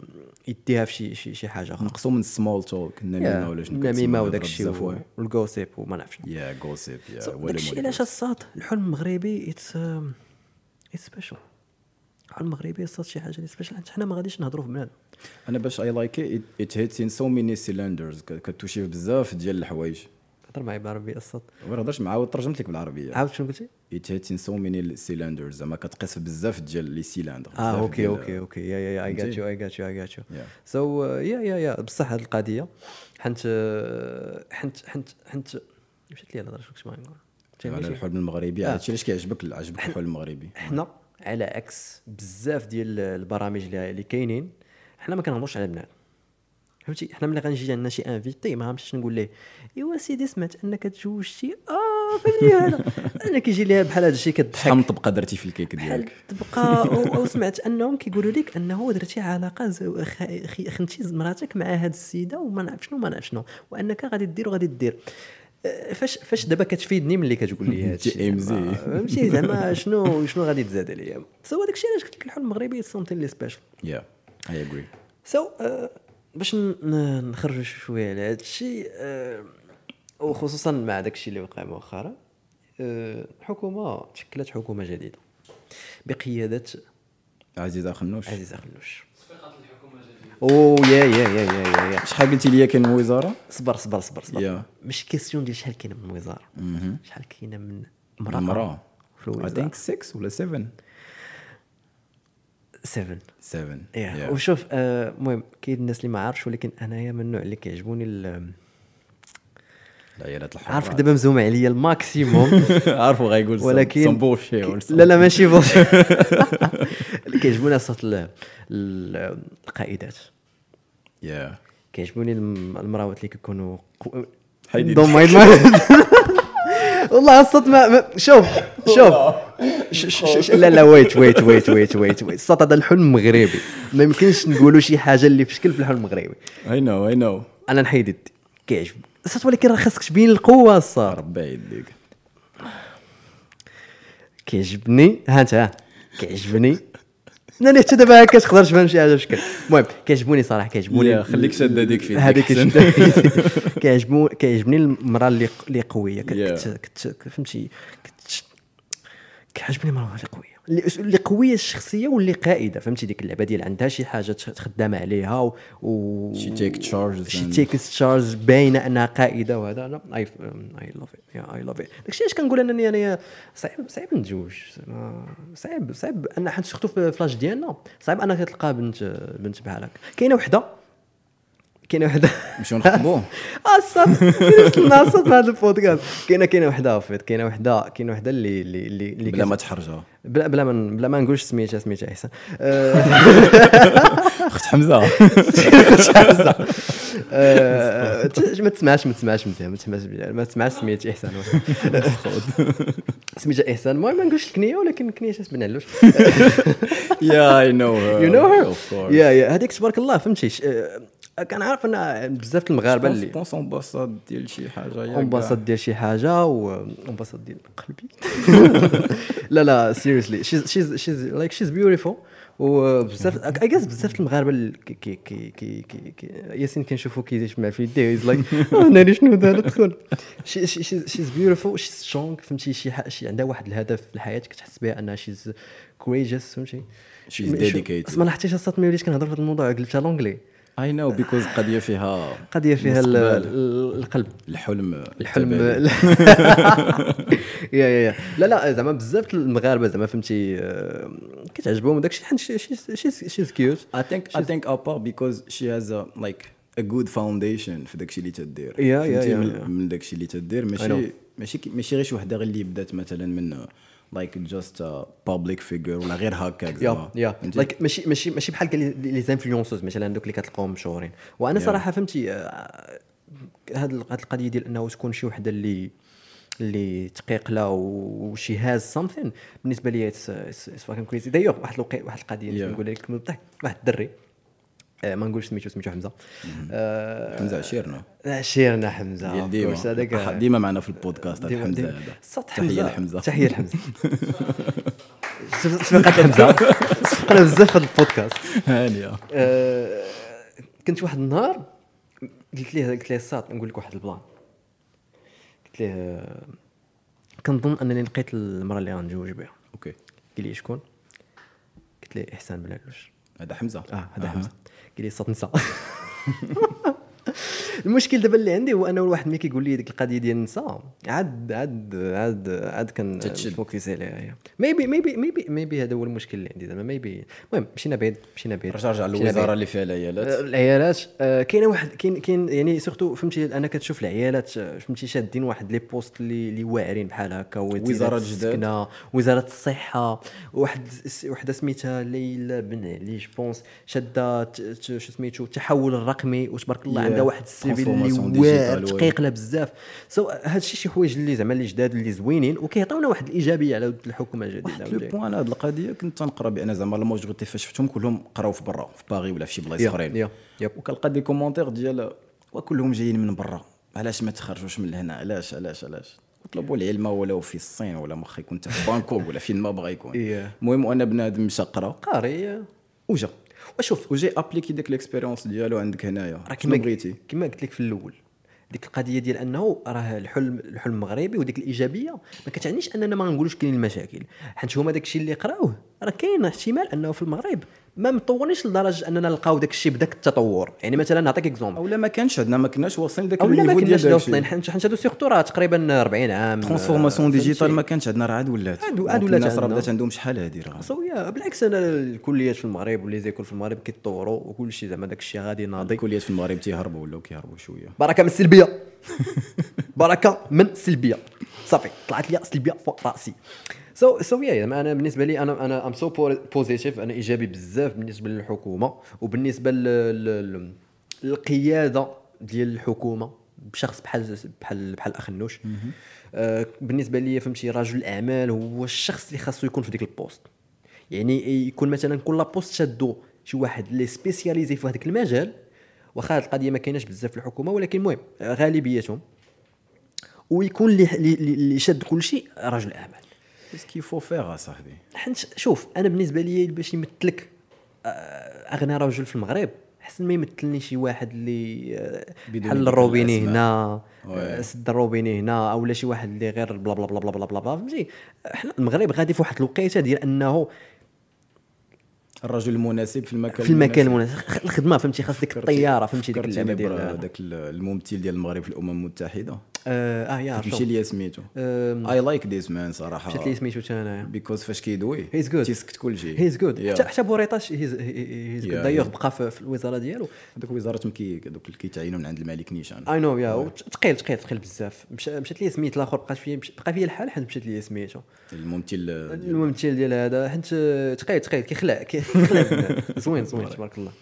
Speaker 2: يديها في شي شي, شي حاجه اخرى
Speaker 3: نقصوا من السمول توك النميمه ولا شنو
Speaker 2: النميمه وداك الشيء والكوسيب وما نعرفش
Speaker 3: يا جوسيب يا ولا
Speaker 2: داك الشيء علاش الصاد الحلم المغربي اتس اتس سبيشال الحلم المغربي الصاد شي حاجه اللي سبيشال حيت حنا ما غاديش نهضروا في بنادم
Speaker 3: انا باش اي لايك ات هيتس ان سو ميني سيلندرز كتوشي في بزاف ديال الحوايج
Speaker 2: هضر معايا بالعربي الصاد
Speaker 3: ما نهضرش معاه وترجمت لك بالعربيه
Speaker 2: عاود شنو قلتي آه،
Speaker 3: ات هيتس ان سو ميني سيلندرز زعما كتقيس في بزاف ديال لي سيلندر
Speaker 2: اه اوكي
Speaker 3: eh,
Speaker 2: اوكي اوكي يا يا يا اي جات يو اي جات يو اي جات يو
Speaker 3: Yeah.
Speaker 2: سو uh, يا يا يا بصح هذه القضيه حنت آه، حنت حنت حنت مشات لي الهضره شنو كنت باغي نقول
Speaker 3: على
Speaker 2: فهمتني؟
Speaker 3: الحلم المغربي هادشي علاش كيعجبك عجبك الحلم المغربي
Speaker 2: حنا على عكس بزاف ديال البرامج اللي اللي كاينين حنا ما كنهضروش على بنات فهمتي حنا ملي غنجي عندنا شي انفيتي ما غنمشيش نقول ليه ايوا سيدي سمعت انك تزوجتي اه فهمتي هذا *laughs* انا كيجي ليها بحال هذا الشيء
Speaker 3: شحال
Speaker 2: كضحك
Speaker 3: من طبقه درتي في الكيك
Speaker 2: بحال
Speaker 3: ديالك
Speaker 2: تبقى أو- او سمعت انهم كيقولوا لك انه درتي علاقه زو- خ- خي- خنتي ز- مراتك مع هاد السيده وما نعرف شنو ما نعرف شنو وانك غادي دير وغادي دير أه، فاش فاش دابا كتفيدني ملي كتقول لي هادشي
Speaker 3: TMZ.
Speaker 2: زعما. فهمتي زعما شنو *laughs* شنو غادي تزاد عليا سو هذاك الشيء علاش قلت لك الحلم المغربي سمثين لي سبيشال
Speaker 3: يا اي اجري
Speaker 2: سو أه، باش ن- ن- نخرجوا شويه على هذا الشيء آه، وخصوصا مع داك الشيء اللي وقع أه، مؤخرا آه، الحكومه تشكلت حكومه جديده بقياده
Speaker 3: عزيزه خنوش
Speaker 2: عزيز خلوش او يا يا يا يا يا يا
Speaker 3: شحال قلتي لي كاين وزاره
Speaker 2: صبر صبر صبر صبر
Speaker 3: يا.
Speaker 2: مش كيسيون ديال شحال كاينه من وزاره شحال كاينه من امراه
Speaker 3: مراه
Speaker 2: في
Speaker 3: اي
Speaker 2: الوزاره
Speaker 3: ثينك 6 ولا 7
Speaker 2: 7
Speaker 3: 7
Speaker 2: ياه وشوف آه، المهم كاين الناس اللي ما عارفش ولكن انايا من النوع اللي كيعجبوني ال-
Speaker 3: العيالات *laughs* الحرة
Speaker 2: عارفك دابا مزوم عليا
Speaker 3: *laughs*
Speaker 2: الماكسيموم
Speaker 3: عارفو غايقول سم-
Speaker 2: ولكن
Speaker 3: سم بوشي ولا سم-
Speaker 2: لا لا ماشي بوشي
Speaker 3: *laughs*
Speaker 2: كيعجبوني صوت ال- ال- القائدات
Speaker 3: يا
Speaker 2: كيعجبوني الم- المراوات اللي كيكونوا قو-
Speaker 3: حيدي.
Speaker 2: ضم عيد واحد. والله الصوت ما ما- شوف شوف ش- ش- ش- ش- لا لا ويت ويت ويت ويت ويت ويت الصوت هذا الحلم مغربي ما يمكنش نقولوا شي حاجه اللي في شكل في الحلم المغربي
Speaker 3: اي نو اي نو
Speaker 2: انا نحيد يدي كيعجب الصوت ولكن راه خاصك تبين القوه الصار
Speaker 3: ربي يديك
Speaker 2: كيعجبني ها انت ها كيعجبني انا حتى دابا هكا تقدر تفهم شي حاجه بشكل المهم كيعجبوني صراحه كيعجبوني
Speaker 3: يا، خليك شاد هذيك فيك.
Speaker 2: هذيك
Speaker 3: أحسن.
Speaker 2: شاده فيك. *laughs* كيعجبو كيعجبني المراه اللي اللي قويه كت-
Speaker 3: يا.
Speaker 2: كت- كت- فهمتي كت- كيعجبني المراه اللي قويه اللي- اللي قويه الشخصيه واللي قائده فهمتي ديك اللعبه ديال عندها شي حاجه تخ- تخدم عليها و, و...
Speaker 3: She take charges
Speaker 2: شي
Speaker 3: and-
Speaker 2: تيك تشارج باينه انها قائده وهذا انا اي اي لاف يا اي لاف داكشي علاش كنقول انني انا صعيب صعيب نتزوج زعما صعيب صعيب انا حيت سورتو في فلاش ديالنا صعيب انا كتلقى بنت بنت بحالك كاينه وحده كاينه وحده *laughs*
Speaker 3: نمشيو نخطبوه
Speaker 2: آه،
Speaker 3: *laughs*
Speaker 2: اصلا فين وصلنا مع هذا البودكاست كاينه كاينه وحده فيت كاينه وحده كاينه وحده اللي اللي اللي اللي
Speaker 3: بلا ما
Speaker 2: كت-
Speaker 3: تحرجها
Speaker 2: بلا بلا ما بلا ما نقولش سميتها سميتها احسن أه،
Speaker 3: اخت حمزه *laughs*
Speaker 2: أه، ت- ما تسمعش ما تسمعش ما تسمعش ما تسمعش سميتها احسن *laughs* سميتها احسن المهم ما نقولش الكنيه ولكن الكنيه شاس بن علوش
Speaker 3: يا
Speaker 2: *laughs*
Speaker 3: اي نو هير
Speaker 2: يو نو هير
Speaker 3: اوف كورس
Speaker 2: يا يا هذيك تبارك الله فهمتي ش- أه، كنعرف ان بزاف المغاربه
Speaker 3: بان لي
Speaker 2: اللي
Speaker 3: بونس امباساد ديال شي حاجه يا
Speaker 2: انبسط ديال شي حاجه وانبسط ديال قلبي لا لا سيريسلي شيز شيز شيز لايك شيز بيوتيفول وبزاف اي جاس بزاف المغاربه اللي كي كي كي كي كي كي ياسين كنشوفو كيجمع في يديه هيز لايك *laughs* ناري شنو دار دخل شيز بيوتيفول شيز سترونغ فهمتي شي حق- شي عندها واحد الهدف في الحياه كتحس بها انها شيز كوريجيس فهمتي
Speaker 3: She's
Speaker 2: شو-
Speaker 3: dedicated.
Speaker 2: اسمع حتى شي صات ما وليت كنهضر في هذا الموضوع قلبتها لونجلي
Speaker 3: اي نو بيكوز قضيه فيها
Speaker 2: قضيه فيها ال-
Speaker 3: مستقبل.
Speaker 2: ال- القلب
Speaker 3: الحلم
Speaker 2: الحلم
Speaker 3: التبادل.
Speaker 2: *laughs* يا يا يا لا لا زعما بزاف المغاربه زعما فهمتي آه، كتعجبهم داك الشيء حيت شي شي شي كيوت
Speaker 3: I think I think apart because she has a like a good foundation في داكشي اللي تدير
Speaker 2: Yeah, yeah,
Speaker 3: فهمتي
Speaker 2: yeah,
Speaker 3: من-
Speaker 2: yeah.
Speaker 3: من داكشي اللي تدير
Speaker 2: know.
Speaker 3: ماشي ماشي كي- ماشي غير شي وحده غير اللي بدات مثلا من like just a public figure ولا غير هكاك
Speaker 2: يا
Speaker 3: زعما
Speaker 2: يا
Speaker 3: فهمتي؟
Speaker 2: لايك ماشي ماشي ماشي بحال كاع لي- لي زانفلونسوز مثلا دوك اللي كتلقاهم مشهورين وانا صراحه فهمتي آه، هذه القضيه ديال انه تكون شي وحده اللي اللي تقيق لها وشي هاز سامثين بالنسبه لي اتس فاكين كريزي دايوغ واحد الوقي- واحد القضيه اللي
Speaker 3: Yeah.
Speaker 2: نقولها لك من الضحك واحد الدري آه، ما نقولش سميتو سميتو حمزه آه،
Speaker 3: حمزه عشيرنا
Speaker 2: لا، شيرنا حمزه
Speaker 3: ديال
Speaker 2: of
Speaker 3: ديما
Speaker 2: course، هذاك
Speaker 3: أح- ديما معنا في البودكاست
Speaker 2: آه،
Speaker 3: هاد
Speaker 2: ديما-
Speaker 3: حمزه
Speaker 2: ديما.
Speaker 3: هذا
Speaker 2: صوت
Speaker 3: تحيه لحمزه
Speaker 2: تحيه
Speaker 3: *laughs*
Speaker 2: لحمزه شوف- شوف قد حمزه صفقنا بزاف في هذا البودكاست
Speaker 3: *laughs* هانيه
Speaker 2: آه، كنت واحد النهار قلت ليه قلت ليه الساط نقول لك واحد البلان قلت ليه آه، كنظن انني لقيت المراه اللي غنتزوج بها
Speaker 3: اوكي
Speaker 2: قال لي شكون قلت ليه احسان بلالوش
Speaker 3: هذا حمزه
Speaker 2: اه هذا حمزه قال لي صوت نساء *laughs* المشكل دابا اللي عندي هو انه الواحد ملي كيقول لي ديك القضيه ديال النساء عاد عاد عاد عاد كان
Speaker 3: تتشد.
Speaker 2: فوكس عليها ميبي ميبي ميبي ميبي هذا هو المشكل اللي عندي زعما ميبي المهم مشينا بعيد مشينا بعيد
Speaker 3: رجع
Speaker 2: مشينا
Speaker 3: رجع
Speaker 2: بعيد.
Speaker 3: للوزاره اللي فيها
Speaker 2: آه،
Speaker 3: العيالات
Speaker 2: العيالات آه، كاينه واحد كاين كاين يعني سورتو فهمتي انا كتشوف العيالات آه، فهمتي شادين واحد لي بوست اللي اللي واعرين بحال هكا
Speaker 3: وزارة جداد.
Speaker 2: السكنه وزاره الصحه واحد س- وحده سميتها ليلى بن علي جوبونس شاده ت- ت- شو سميتو التحول الرقمي وتبارك الله
Speaker 3: Yeah.
Speaker 2: عندها واحد السيفي اللي
Speaker 3: Transformation
Speaker 2: واعر
Speaker 3: digital,
Speaker 2: دقيق لا بزاف سو هادشي شي حوايج اللي زعما اللي جداد اللي زوينين وكيعطيونا واحد الايجابيه على ود الحكومه الجديده
Speaker 3: لو
Speaker 2: وجاي.
Speaker 3: بوان هاد القضيه كنت تنقرا بان زعما لا ماجوريتي فاش شفتهم كلهم قراو في برا في باغي ولا في شي بلايص
Speaker 2: يا-
Speaker 3: اخرين
Speaker 2: يا- يب.
Speaker 3: وكنلقى دي كومونتير ديال وكلهم جايين من برا علاش ما تخرجوش من هنا علاش علاش علاش طلبوا العلم ولو في الصين ولا مخ يكون حتى في بانكوك ولا فين ما بغا يكون
Speaker 2: إيه.
Speaker 3: المهم وانا بنادم مشى قرا
Speaker 2: قاري
Speaker 3: وجا
Speaker 2: وشوف
Speaker 3: وجاي ابليكي ديك الاكسبيريونس ديالو عندك هنايا
Speaker 2: راه
Speaker 3: شنو
Speaker 2: كما
Speaker 3: بغيتي
Speaker 2: كما قلت لك في الاول ديك القضيه ديال انه راه الحلم الحلم المغربي وديك الايجابيه ما كتعنيش اننا ما نقولوش كاين المشاكل حيت هما داك الشيء اللي قراوه راه كاين احتمال انه في المغرب ما مطورينش لدرجه اننا نلقاو داك الشيء بداك التطور يعني مثلا نعطيك اكزومبل
Speaker 3: او لا ما كانش عندنا ما كناش واصلين داك
Speaker 2: او لا ما
Speaker 3: النيفو ديال
Speaker 2: كناش
Speaker 3: داك
Speaker 2: واصلين
Speaker 3: الشيء
Speaker 2: حنا حنا هادو سيغتو راه تقريبا 40 عام
Speaker 3: ترانسفورماسيون
Speaker 2: آه،
Speaker 3: ديجيتال
Speaker 2: فهمتي؟
Speaker 3: ما كانش عندنا راه عاد
Speaker 2: عاد-
Speaker 3: ولات
Speaker 2: عاد
Speaker 3: دونك
Speaker 2: ولات
Speaker 3: الناس راه
Speaker 2: عندنا.
Speaker 3: بدات عندهم شحال هادي راه
Speaker 2: سوية بالعكس انا الكليات في المغرب ولي زيكول في المغرب كيتطوروا وكل شيء زعما داك الشيء غادي ناضي
Speaker 3: الكليات في المغرب تيهربوا ولاو كيهربوا شويه
Speaker 2: بركه من السلبيه بركه من السلبيه صافي طلعت لي سلبيه فوق راسي سو سو يا انا بالنسبه يعني لي انا انا ام سو بوزيتيف انا ايجابي بزاف بالنسبه للحكومه وبالنسبه لل- لل- للقياده ديال الحكومه بشخص بحال بحال بحال اخ نوش آه، بالنسبه لي فهمتي رجل الاعمال هو الشخص اللي خاصو يكون في ديك البوست يعني يكون مثلا كل بوست شادو شي واحد اللي سبيسياليزي في هذاك المجال واخا هاد القضيه ما كايناش بزاف في الحكومه ولكن المهم غالبيتهم ويكون اللي اللي- اللي شاد كل شيء رجل اعمال
Speaker 3: اسكي فو فيغ اصاحبي
Speaker 2: حنت شوف انا بالنسبه لي باش يمثلك آه، اغنى رجل في المغرب احسن ما يمثلني شي واحد اللي آه،
Speaker 3: بدون
Speaker 2: بحال
Speaker 3: ذكر
Speaker 2: الروبيني
Speaker 3: الأسماء.
Speaker 2: هنا آه،
Speaker 3: وي.
Speaker 2: سد الروبيني هنا او لا شي واحد اللي غير بلا بلا بلا بلا بلا بلا بلا فهمتي حنا المغرب غادي في واحد الوقيته ديال انه
Speaker 3: الرجل المناسب في المكان
Speaker 2: في المكان المناسب خ- الخدمه فهمتي خاص ديك الطياره فهمتي ديك اللعبه
Speaker 3: اللعبه
Speaker 2: ديال
Speaker 3: داك ال- الممثل ديال المغرب في الامم المتحده
Speaker 2: اه آه، يا
Speaker 3: مشي
Speaker 2: عرفتو
Speaker 3: ليا سميتو
Speaker 2: أم،
Speaker 3: اي لايك ذيس مان صراحه
Speaker 2: مشات لي سميتو حتى انايا
Speaker 3: بيكوز فاش كيدوي
Speaker 2: He's good.
Speaker 3: تيسكت كلشي
Speaker 2: هيز جود
Speaker 3: Yeah.
Speaker 2: حتى حتى بوريطاش هيز جود
Speaker 3: Yeah,
Speaker 2: دايوغ
Speaker 3: yeah.
Speaker 2: بقى في في الوزاره ديالو
Speaker 3: هذوك وزاره مكي دوك اللي كيتعينوا من عند الملك نيشان
Speaker 2: اي نو يا ثقيل ثقيل ثقيل بزاف مشى- مشات لي سميت الاخر بقات فيا مش- بقى فيا الحال حيت مشات لي سميتو
Speaker 3: الممثل ديال-
Speaker 2: الممثل ديال هذا حيت ثقيل ثقيل كيخلع كيخلع *laughs* زوين زوين تبارك الله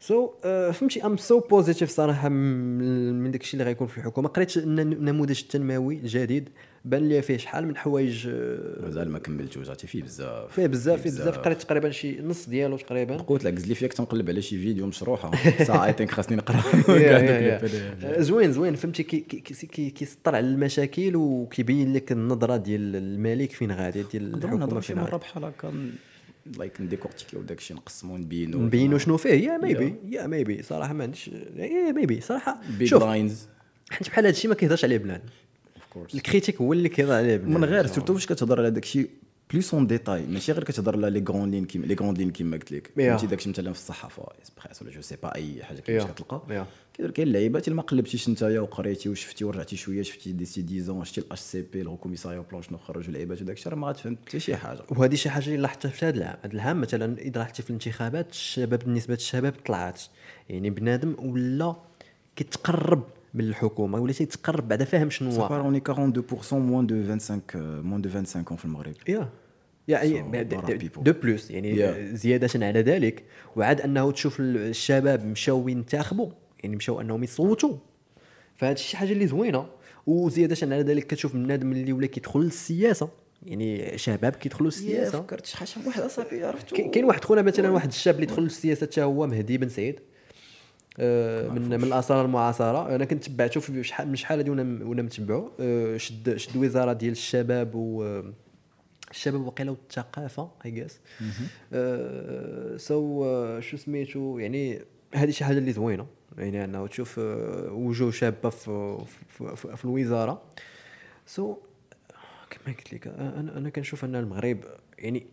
Speaker 2: سو فهمتي ام سو بوزيتيف صراحه من من داك الشيء اللي غيكون في الحكومه قريت الن- النموذج التنموي الجديد بان لي فيه شحال من حوايج آه،
Speaker 3: مازال ما كملتوش عرفتي فيه بزاف
Speaker 2: فيه بزاف فيه بزاف قريت تقريبا شي نص ديالو تقريبا
Speaker 3: قلت لك زلي فيك تنقلب على شي فيديو مشروحه ساعه اي ثينك خاصني نقرا *laughs*
Speaker 2: يا-
Speaker 3: كاع دوك
Speaker 2: يا-
Speaker 3: لي
Speaker 2: يا.
Speaker 3: PDF.
Speaker 2: آه، زوين زوين فهمتي كي- كي- كي- كي- كيسطر على المشاكل وكيبين لك النظره ديال الملك فين غادي ديال
Speaker 3: نهضروا
Speaker 2: الحكومه
Speaker 3: نهضروا شي
Speaker 2: فين
Speaker 3: مره
Speaker 2: غادي
Speaker 3: بحال هكا لايك نديكورتيكيو داك الشيء نقسمو نبينو
Speaker 2: نبينوا شنو فيه يا ميبي يا ميبي صراحه ما عنديش يا ميبي صراحه
Speaker 3: بيج
Speaker 2: شوف
Speaker 3: لاينز
Speaker 2: حيت بحال هادشي ما كيهضرش عليه بلان
Speaker 3: اوف كورس
Speaker 2: الكريتيك هو اللي كيهضر عليه بلان
Speaker 3: من غير سورتو فاش كتهضر على داك الشيء بليس اون ديتاي ماشي غير كتهضر على لي غون لين كيما لي غون لين كيما قلت لك فهمتي داك الشيء مثلا في الصحافه اسبريس ولا جو سي با اي حاجه كيفاش
Speaker 2: Yeah.
Speaker 3: كتلقى
Speaker 2: Yeah.
Speaker 3: كيدير كاين لعيبات اللي ما قلبتيش نتايا وقريتي وشفتي ورجعتي شويه شفتي دي سي ديزون شفتي الاش سي بي الكوميساريا بلان شنو خرجوا لعيبات وداك الشيء راه ما غاتفهم حتى شي حاجه
Speaker 2: وهذه شي حاجه اللي لاحظتها في هذا العام هذا العام مثلا اذا لاحظتي في الانتخابات الشباب بالنسبه للشباب طلعت يعني بنادم ولا كيتقرب من الحكومه ولا تيتقرب بعدا فاهم شنو
Speaker 3: Ça
Speaker 2: واقع
Speaker 3: part, on est 42% moins de 25 euh, moins de 25 ans في المغرب
Speaker 2: يا يعني
Speaker 3: So,
Speaker 2: بعد-
Speaker 3: a lot of people.
Speaker 2: دو بلوس يعني
Speaker 3: Yeah.
Speaker 2: زياده على ذلك وعاد انه تشوف الشباب مشاو ينتخبوا يعني مشاو انهم يصوتوا فهاد شي حاجه اللي زوينه وزياده على ذلك كتشوف بنادم اللي ولا كيدخل للسياسه يعني شباب كيدخلوا للسياسه
Speaker 3: فكرت شحال شحال واحد اصاحبي عرفتو
Speaker 2: كاين كاين واحد خونا مثلا واحد الشاب اللي دخل للسياسه حتى هو مهدي بن سعيد آه، من من الاثار المعاصره انا كنت تبعته في شحال من شحال هادي وانا وانا متبعو آه، شد شد وزاره ديال الشباب و الشباب وقيله والثقافه اي جاس سو آه، شو سميتو يعني هذه شي حاجه اللي زوينه يعني انه تشوف آه، وجوه شابه في في, في, في الوزاره سو كما قلت لك آه، انا انا كنشوف ان المغرب يعني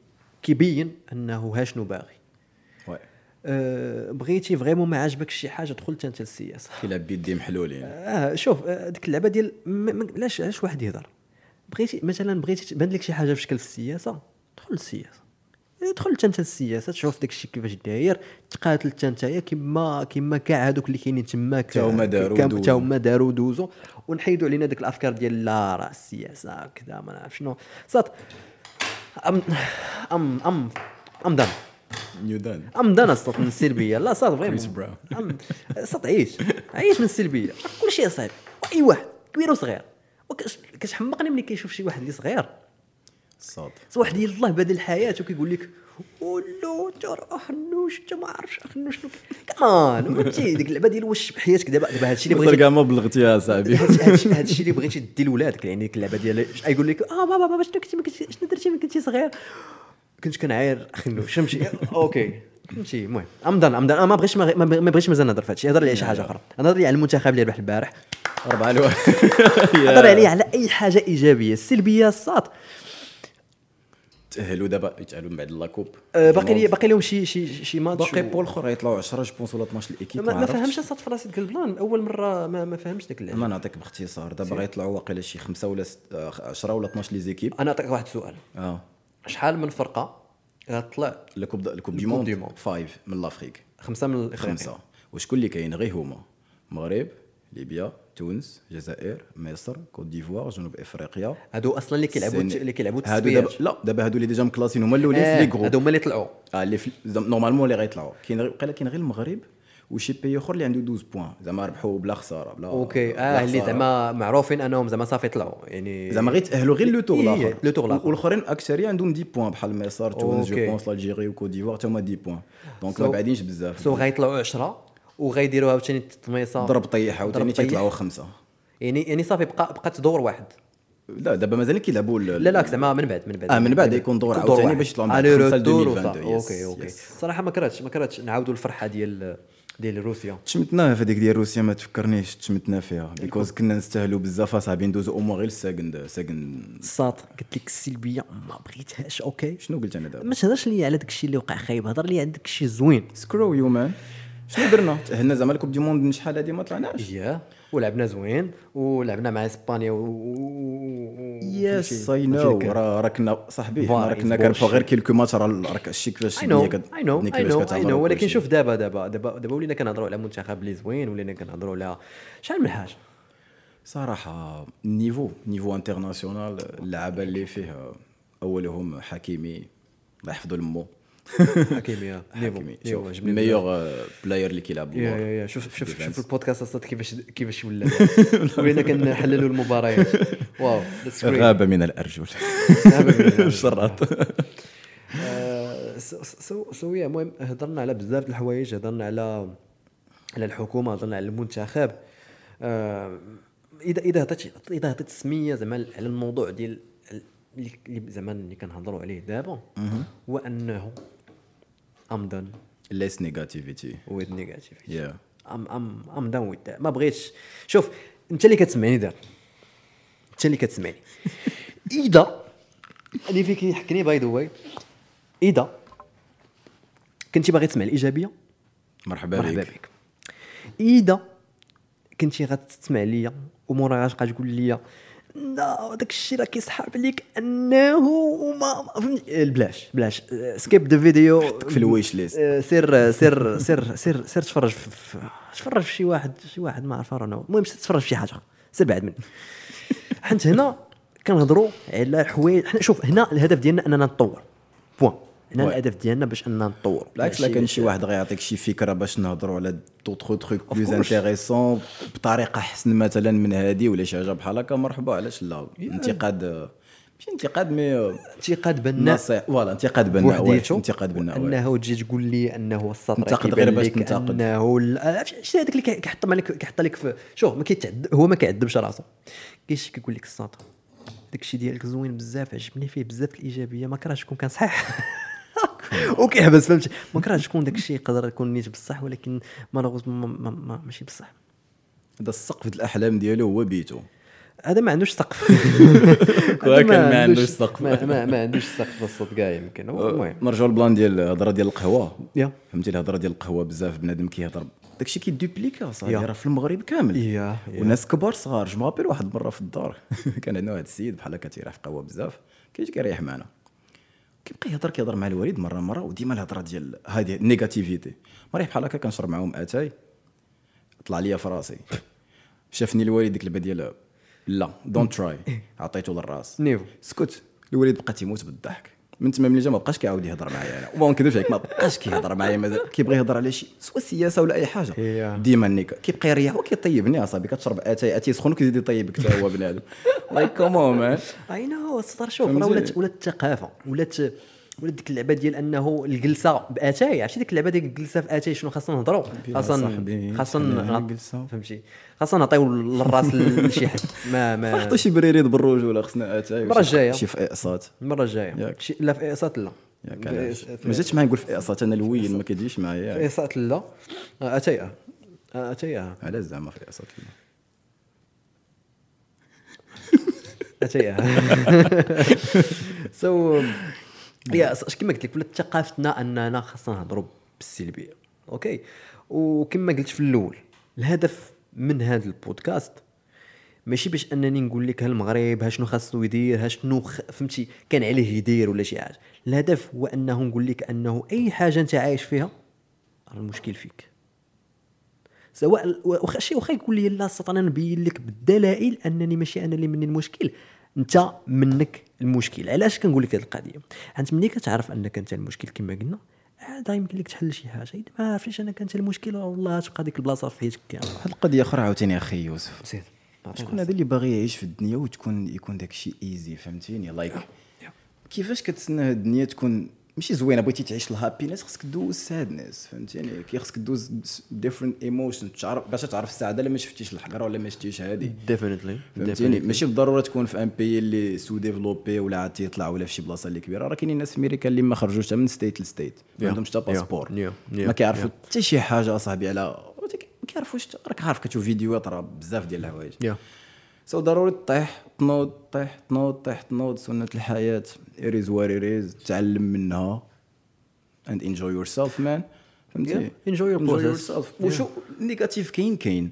Speaker 2: كيبين انه ها شنو باغي
Speaker 3: وي
Speaker 2: آه، بغيتي فريمون ما عجبك شي حاجه دخل حتى انت للسياسه
Speaker 3: كيلا بيدي محلولين
Speaker 2: اه شوف آه، ديك اللعبه ديال م- م- علاش علاش واحد يهضر بغيتي مثلا بغيتي تبان لك شي حاجه في شكل في السياسه دخل آه، للسياسه دخل حتى انت للسياسه تشوف داك الشيء كيفاش داير تقاتل حتى نتايا كما كما كاع هذوك اللي كاينين تما
Speaker 3: تا هما داروا ودوزوا.
Speaker 2: تا هما داروا دوزو ونحيدوا علينا ديك الافكار ديال لا راه السياسه كذا ما نعرف شنو صات ام ام ام ام دان
Speaker 3: نيو دان
Speaker 2: ام دانا صوت من السلبيه لا صاد فريمون
Speaker 3: Chris Brown.
Speaker 2: أم- صوت عيش عيش من السلبيه كل شيء صعيب اي واحد كبير وصغير وكش- كتحمقني ملي كيشوف شي واحد اللي صغير
Speaker 3: الصاد
Speaker 2: ص- واحد يلاه بادل الحياه وكيقول لك ولو انت راه خنوش انت ما عرفش خنوش شنو ك- كمان فهمتي ديك اللعبه ديال واش حياتك دابا دابا هادشي اللي
Speaker 3: مازال
Speaker 2: بغيتي
Speaker 3: كاع ما بلغتي يا صاحبي
Speaker 2: هادشي- *laughs* هادشي هادشي اللي بغيتي دي لولادك يعني ديك اللعبه ديال يقول لك اه بابا بابا شنو كنتي ما كنتي- شنو درتي ملي كنتي صغير كنت كنعاير خنوش فهمتي *laughs* اوكي فهمتي المهم امضان امضان ما بغيتش ما بغي- ما بغيتش مازال نهضر في هادشي هضر لي على شي حاجه اخرى هضر لي على المنتخب اللي ربح البارح
Speaker 3: أربعة لواحد
Speaker 2: *laughs* أه، هضر عليه على اي حاجه ايجابيه السلبيه الساط
Speaker 3: تاهلوا دابا يتاهلوا من بعد لاكوب
Speaker 2: آه، باقي لي باقي لهم شي شي شي ماتش
Speaker 3: أه، باقي
Speaker 2: و-
Speaker 3: بول اخر غيطلعوا 10 جو بونس ولا 12 ليكيب
Speaker 2: ما, ما
Speaker 3: عرفتش.
Speaker 2: فهمش صات في راسي ديك البلان اول مره ما, ما فهمش ديك اللعبه
Speaker 3: ما نعطيك باختصار دابا
Speaker 2: سير.
Speaker 3: غيطلعوا واقيلا شي خمسه ولا ست- آه، 10 ولا 12 لي زيكيب
Speaker 2: انا اعطيك واحد السؤال
Speaker 3: اه
Speaker 2: شحال من فرقه غتطلع
Speaker 3: الكوب الكوب
Speaker 2: الكوب
Speaker 3: دي
Speaker 2: دي
Speaker 3: موند
Speaker 2: موند.
Speaker 3: فايف من لافريك
Speaker 2: خمسه من الإفريقيين؟
Speaker 3: خمسه وشكون اللي كاين غير هما المغرب ليبيا تونس الجزائر مصر كوت ديفوار جنوب افريقيا
Speaker 2: هادو اصلا اللي كيلعبوا
Speaker 3: السن-
Speaker 2: اللي كيلعبوا
Speaker 3: هادو
Speaker 2: التصفيات.
Speaker 3: دابا لا دابا هادو اللي ديجا مكلاسين هما الاولين في
Speaker 2: آه،
Speaker 3: لي جروب
Speaker 2: هادو هما اللي طلعوا
Speaker 3: اه اللي في زعما نورمالمون اللي غيطلعوا كاين غير- وقيلا كاين غير المغرب وشي بي اخر اللي عنده 12 بوان زعما ربحوا بلا خساره بلا
Speaker 2: اوكي
Speaker 3: بلا
Speaker 2: اه اللي
Speaker 3: خسارة.
Speaker 2: زعما معروفين انهم زعما صافي طلعوا يعني
Speaker 3: زعما غير تاهلوا غير لو تور
Speaker 2: إيه،
Speaker 3: الاخر
Speaker 2: لو تور الآخر.
Speaker 3: والاخرين اكثريه عندهم 10 بوان بحال مصر تونس جو
Speaker 2: أوكي.
Speaker 3: بونس الجيري وكوت ديفوار حتى هما 10 بوان دونك
Speaker 2: So-
Speaker 3: ما بعدينش بزاف
Speaker 2: سو غيطلعوا 10 وغيديروا عاوتاني التطميصه
Speaker 3: ضرب طيح عاوتاني
Speaker 2: ضرب طيح.
Speaker 3: تيطلعوا خمسه
Speaker 2: يعني يعني صافي بقى بقات دور واحد
Speaker 3: لا دابا مازال كيلعبوا ال-
Speaker 2: لا لا زعما من بعد من بعد
Speaker 3: آه، من بعد يكون دور عاوتاني
Speaker 2: واحد. آه،
Speaker 3: باش يطلعوا من بعد
Speaker 2: ألي
Speaker 3: خمسة ل
Speaker 2: روتور
Speaker 3: 2022.
Speaker 2: وصافي. اوكي
Speaker 3: Yes,
Speaker 2: اوكي
Speaker 3: yes.
Speaker 2: صراحه ما كرهتش ما كرهتش نعاودوا الفرحه ديال ديال روسيا
Speaker 3: تشمتناها في هذيك ديال روسيا ما تفكرنيش تشمتنا فيها بيكوز كنا نستاهلوا بزاف اصاحبي ندوزو اوموا غير الساكند ساكند
Speaker 4: الساط قلت لك السلبيه ما بغيتهاش اوكي
Speaker 3: شنو قلت انا دابا
Speaker 4: ما تهضرش لي على داك الشيء اللي وقع خايب هضر لي على داك الشيء الزوين
Speaker 3: سكرو يو مان شنو درنا تاهلنا زعما الكوب دي موند من شحال هادي
Speaker 2: *laughs*
Speaker 3: ما طلعناش
Speaker 2: ياه ولعبنا زوين ولعبنا مع اسبانيا و- و
Speaker 3: يس اي نو راه راه كنا صاحبي حنا
Speaker 2: فار
Speaker 3: راه كنا
Speaker 2: is
Speaker 3: كنربحوا
Speaker 2: bullshit.
Speaker 3: غير كيلكو ماتش راه راك شتي كيفاش
Speaker 2: اي نو
Speaker 3: الدنيا كت-
Speaker 2: اي نو
Speaker 3: الدنيا
Speaker 2: اي
Speaker 3: كيفاش
Speaker 2: نو اي
Speaker 3: كتعمر
Speaker 2: نو
Speaker 3: وكل
Speaker 2: ولكن
Speaker 3: شيء.
Speaker 2: شوف دابا دابا دابا دابا ولينا كنهضروا على منتخب اللي زوين ولينا كنهضروا على شحال من
Speaker 3: *laughs*
Speaker 2: حاجه
Speaker 3: صراحه النيفو نيفو انترناسيونال اللعابه اللي فيه اولهم حكيمي الله يحفظه لمو
Speaker 2: حكيمي نيفو
Speaker 3: حكيمي
Speaker 2: نيفو جبنا
Speaker 3: شوف
Speaker 2: بزاف.
Speaker 3: الميور بلاير اللي كيلعب
Speaker 2: يا
Speaker 3: بالوار.
Speaker 2: يا يا شوف شوف شوف
Speaker 3: Defense.
Speaker 2: البودكاست اصلا كيفاش كيفاش ولا
Speaker 3: *laughs*
Speaker 2: ولينا كنحللوا المباريات واو that's great. *laughs*
Speaker 3: غاب من *laughs* الارجل شرط
Speaker 2: سو سو سو يا المهم هضرنا على بزاف د الحوايج هضرنا على على الحكومه هضرنا على المنتخب آه، اذا اذا هضرتي اذا هضرت سميه زعما على الموضوع ديال ال- اللي اللي زعما اللي كنهضروا عليه دابا هو انه ام دان
Speaker 3: ليس نيجاتيفيتي
Speaker 2: ويز نيجاتيف
Speaker 3: Yeah.
Speaker 2: ام ام ام دان ويز ما بغيتش شوف انت اللي كتسمعني دابا انت اللي *laughs* كتسمعني اذا اللي فيك يحكني باي ذا واي اذا كنتي باغي تسمع الايجابيه
Speaker 3: مرحبا
Speaker 2: مرحبا
Speaker 3: بك
Speaker 2: بك اذا كنتي غتسمع ليا ومورا غتبقى تقول ليا لا داك الشيء راه كيسحب عليك انه ما ما- فهمتي بلاش بلاش سكيب ذا فيديو
Speaker 3: في الويش ليست.
Speaker 2: آه، سير سير سير سير سير تفرج في في- تفرج في شي واحد شي واحد ما عرف راه أنا. المهم سير تفرج في شي حاجه سير بعد مني حنت هنا كنهضروا على حوايج حنا شوف هنا الهدف ديالنا اننا نتطور بوان هنا
Speaker 3: وي.
Speaker 2: الهدف ديالنا باش اننا نتطور
Speaker 3: بالعكس لا
Speaker 2: ماشي
Speaker 3: كان
Speaker 2: باش-
Speaker 3: شي واحد غيعطيك شي فكره باش نهضروا على دوطخ تخوك بلوز
Speaker 2: course.
Speaker 3: انتيريسون بطريقه احسن مثلا من هذه ولا شي حاجه بحال هكا مرحبا علاش لا انتقاد ماشي انتقاد مي
Speaker 2: انتقاد بناء
Speaker 3: نصيحه فوالا انتقاد بناء واه،
Speaker 2: بوحديته
Speaker 3: انتقاد بناء واه.
Speaker 2: انه تجي تقول لي انه السطر
Speaker 3: انتقد
Speaker 2: كيبان
Speaker 3: غير باش
Speaker 2: لك
Speaker 3: تنتقد.
Speaker 2: انه ال- شتي هذاك اللي كي- كيحط مالك كيحط لك في شوف ما كيتعد هو ما كيعذبش راسو كيش كيقول لك السطر داك الشيء ديالك زوين بزاف عجبني فيه بزاف الايجابيه ما كرهتش كون كان
Speaker 3: *laughs*
Speaker 2: صحيح وكيحبس فهمتي ما كرهتش كون داك الشيء يقدر يكون نيت بصح ولكن مالوغوزمون ما- ما- ما- ماشي بصح
Speaker 3: هذا السقف ديال الاحلام ديالو هو بيتو
Speaker 2: هذا ما عندوش
Speaker 3: *laughs*
Speaker 2: سقف
Speaker 3: كواكل
Speaker 2: هذا
Speaker 3: ما عندوش سقف.
Speaker 2: ما,
Speaker 3: أه،
Speaker 2: ما, ما عندوش سقف الصوت كاع يمكن المهم
Speaker 3: نرجعوا للبلان ديال الهضره ديال القهوه
Speaker 2: يا.
Speaker 3: فهمتي الهضره ديال القهوه بزاف بنادم كيهضر داكشي كيدوبليكا صاحبي
Speaker 2: يا.
Speaker 3: راه في المغرب كامل
Speaker 2: يا، يا.
Speaker 3: وناس كبار صغار جو مابيل واحد المره في الدار *laughs* كان عندنا واحد السيد بحال هكا تيريح في قهوه بزاف كيجي كيريح معنا كيبقى يهضر كيهضر مع الوالد مره مره وديما الهضره ديال هذه النيجاتيفيتي مريح بحال هكا كنشرب معاهم اتاي طلع ليا في راسي شافني الوالد ديك اللعبه ديال لا دونت تراي
Speaker 2: *laughs*
Speaker 3: عطيته للراس
Speaker 2: نيفو.
Speaker 3: سكت الوالد بقى تيموت بالضحك من تما ملي جا ما بقاش كيعاود يهضر معايا انا وما نكذبش عليك ما بقاش كيهضر معايا مازال كيبغي يهضر على شي سوا السياسه ولا اي حاجه
Speaker 2: Yeah.
Speaker 3: ديما نيكا كيبقى يريح وكيطيبني اصاحبي كتشرب اتاي اتاي سخون وكيزيد يطيبك حتى هو بنادم لايك كومون مان
Speaker 2: اي نو السطر شوف
Speaker 3: فهمتي؟
Speaker 2: راه ولات ولات الثقافه ولات ولات ديك اللعبه ديال انه الجلسه باتاي عرفتي ديك اللعبه ديال الجلسه في اتاي شنو خاصنا نهضروا خاصنا
Speaker 3: صاحبي،
Speaker 2: خاصنا
Speaker 3: على
Speaker 2: نعط-
Speaker 3: الجلسة.
Speaker 2: فهمتي خاصنا نعطيو للراس *laughs* لشي حد ما ما
Speaker 3: حطوا شي بريريد بالرجوله خصنا اتاي
Speaker 2: المرة
Speaker 3: وشي-
Speaker 2: الجاية.
Speaker 3: شي في اقساط
Speaker 2: المره الجايه
Speaker 3: ياك.
Speaker 2: شي- لا في اقساط لا
Speaker 3: ياك
Speaker 2: في
Speaker 3: علاش؟
Speaker 2: إقس-
Speaker 3: ما جاتش معايا نقول في اقساط انا الويل ما كيجيش
Speaker 2: في
Speaker 3: معايا
Speaker 2: اقساط لا آه، اتاي آه. آه، اتاي آه.
Speaker 3: علاش زعما في اقساط
Speaker 2: um, اتاي سو يا أص- كما قلت لك ولات ثقافتنا اننا خاصنا نهضروا بالسلبيه اوكي وكما قلت في الاول الهدف من هذا البودكاست ماشي باش انني نقول لك ها المغرب ها شنو خاصو يدير ها شنو خ... فهمتي كان عليه يدير ولا شي حاجه الهدف هو انه نقول لك انه اي حاجه انت عايش فيها راه المشكل فيك سواء واخا شي واخا يقول لي لا سطر انا نبين لك بالدلائل انني ماشي انا اللي مني المشكل انت منك المشكل علاش كنقول لك هذه القضيه انت ملي كتعرف انك انت المشكل كما قلنا عاد يمكن لك تحل شي حاجه اذا ما عرفتيش انك انت المشكل راه والله تبقى ديك البلاصه في حياتك كامله
Speaker 3: واحد القضيه اخرى عاوتاني اخي يوسف
Speaker 2: سير
Speaker 3: آه، شكون هذا اللي باغي يعيش في الدنيا وتكون يكون داك الشيء ايزي فهمتيني لايك كيفاش كتسنى هاد الدنيا تكون ماشي زوينه بغيتي تعيش الهابينس خصك دوز سادنس فهمتيني كي خصك دوز ديفرنت ايموشن تعرف باش تعرف السعاده الا ما شفتيش الحقره ولا ما شفتيش هادي
Speaker 2: ديفينيتلي
Speaker 3: فهمتيني ماشي بالضروره تكون في ان بي اللي سو ديفلوبي ولا عاد تيطلع ولا في شي بلاصه اللي كبيره راه كاينين ناس في امريكا اللي ما خرجوش حتى من ستيت لستيت ما عندهمش حتى
Speaker 2: yeah,
Speaker 3: باسبور
Speaker 2: yeah,
Speaker 3: ما كيعرفوا حتى شي حاجه اصاحبي على ما كيعرفوش حتى- راك عارف كتشوف فيديوهات راه بزاف ديال الحوايج سو ضروري تطيح تنوض تطيح تنوض تطيح تنوض سنه الحياه اريز وار اريز تعلم منها اند انجوي يور سيلف مان فهمتي
Speaker 2: Yeah, enjoy your process.
Speaker 3: yourself. وشو النيجاتيف كاين كاين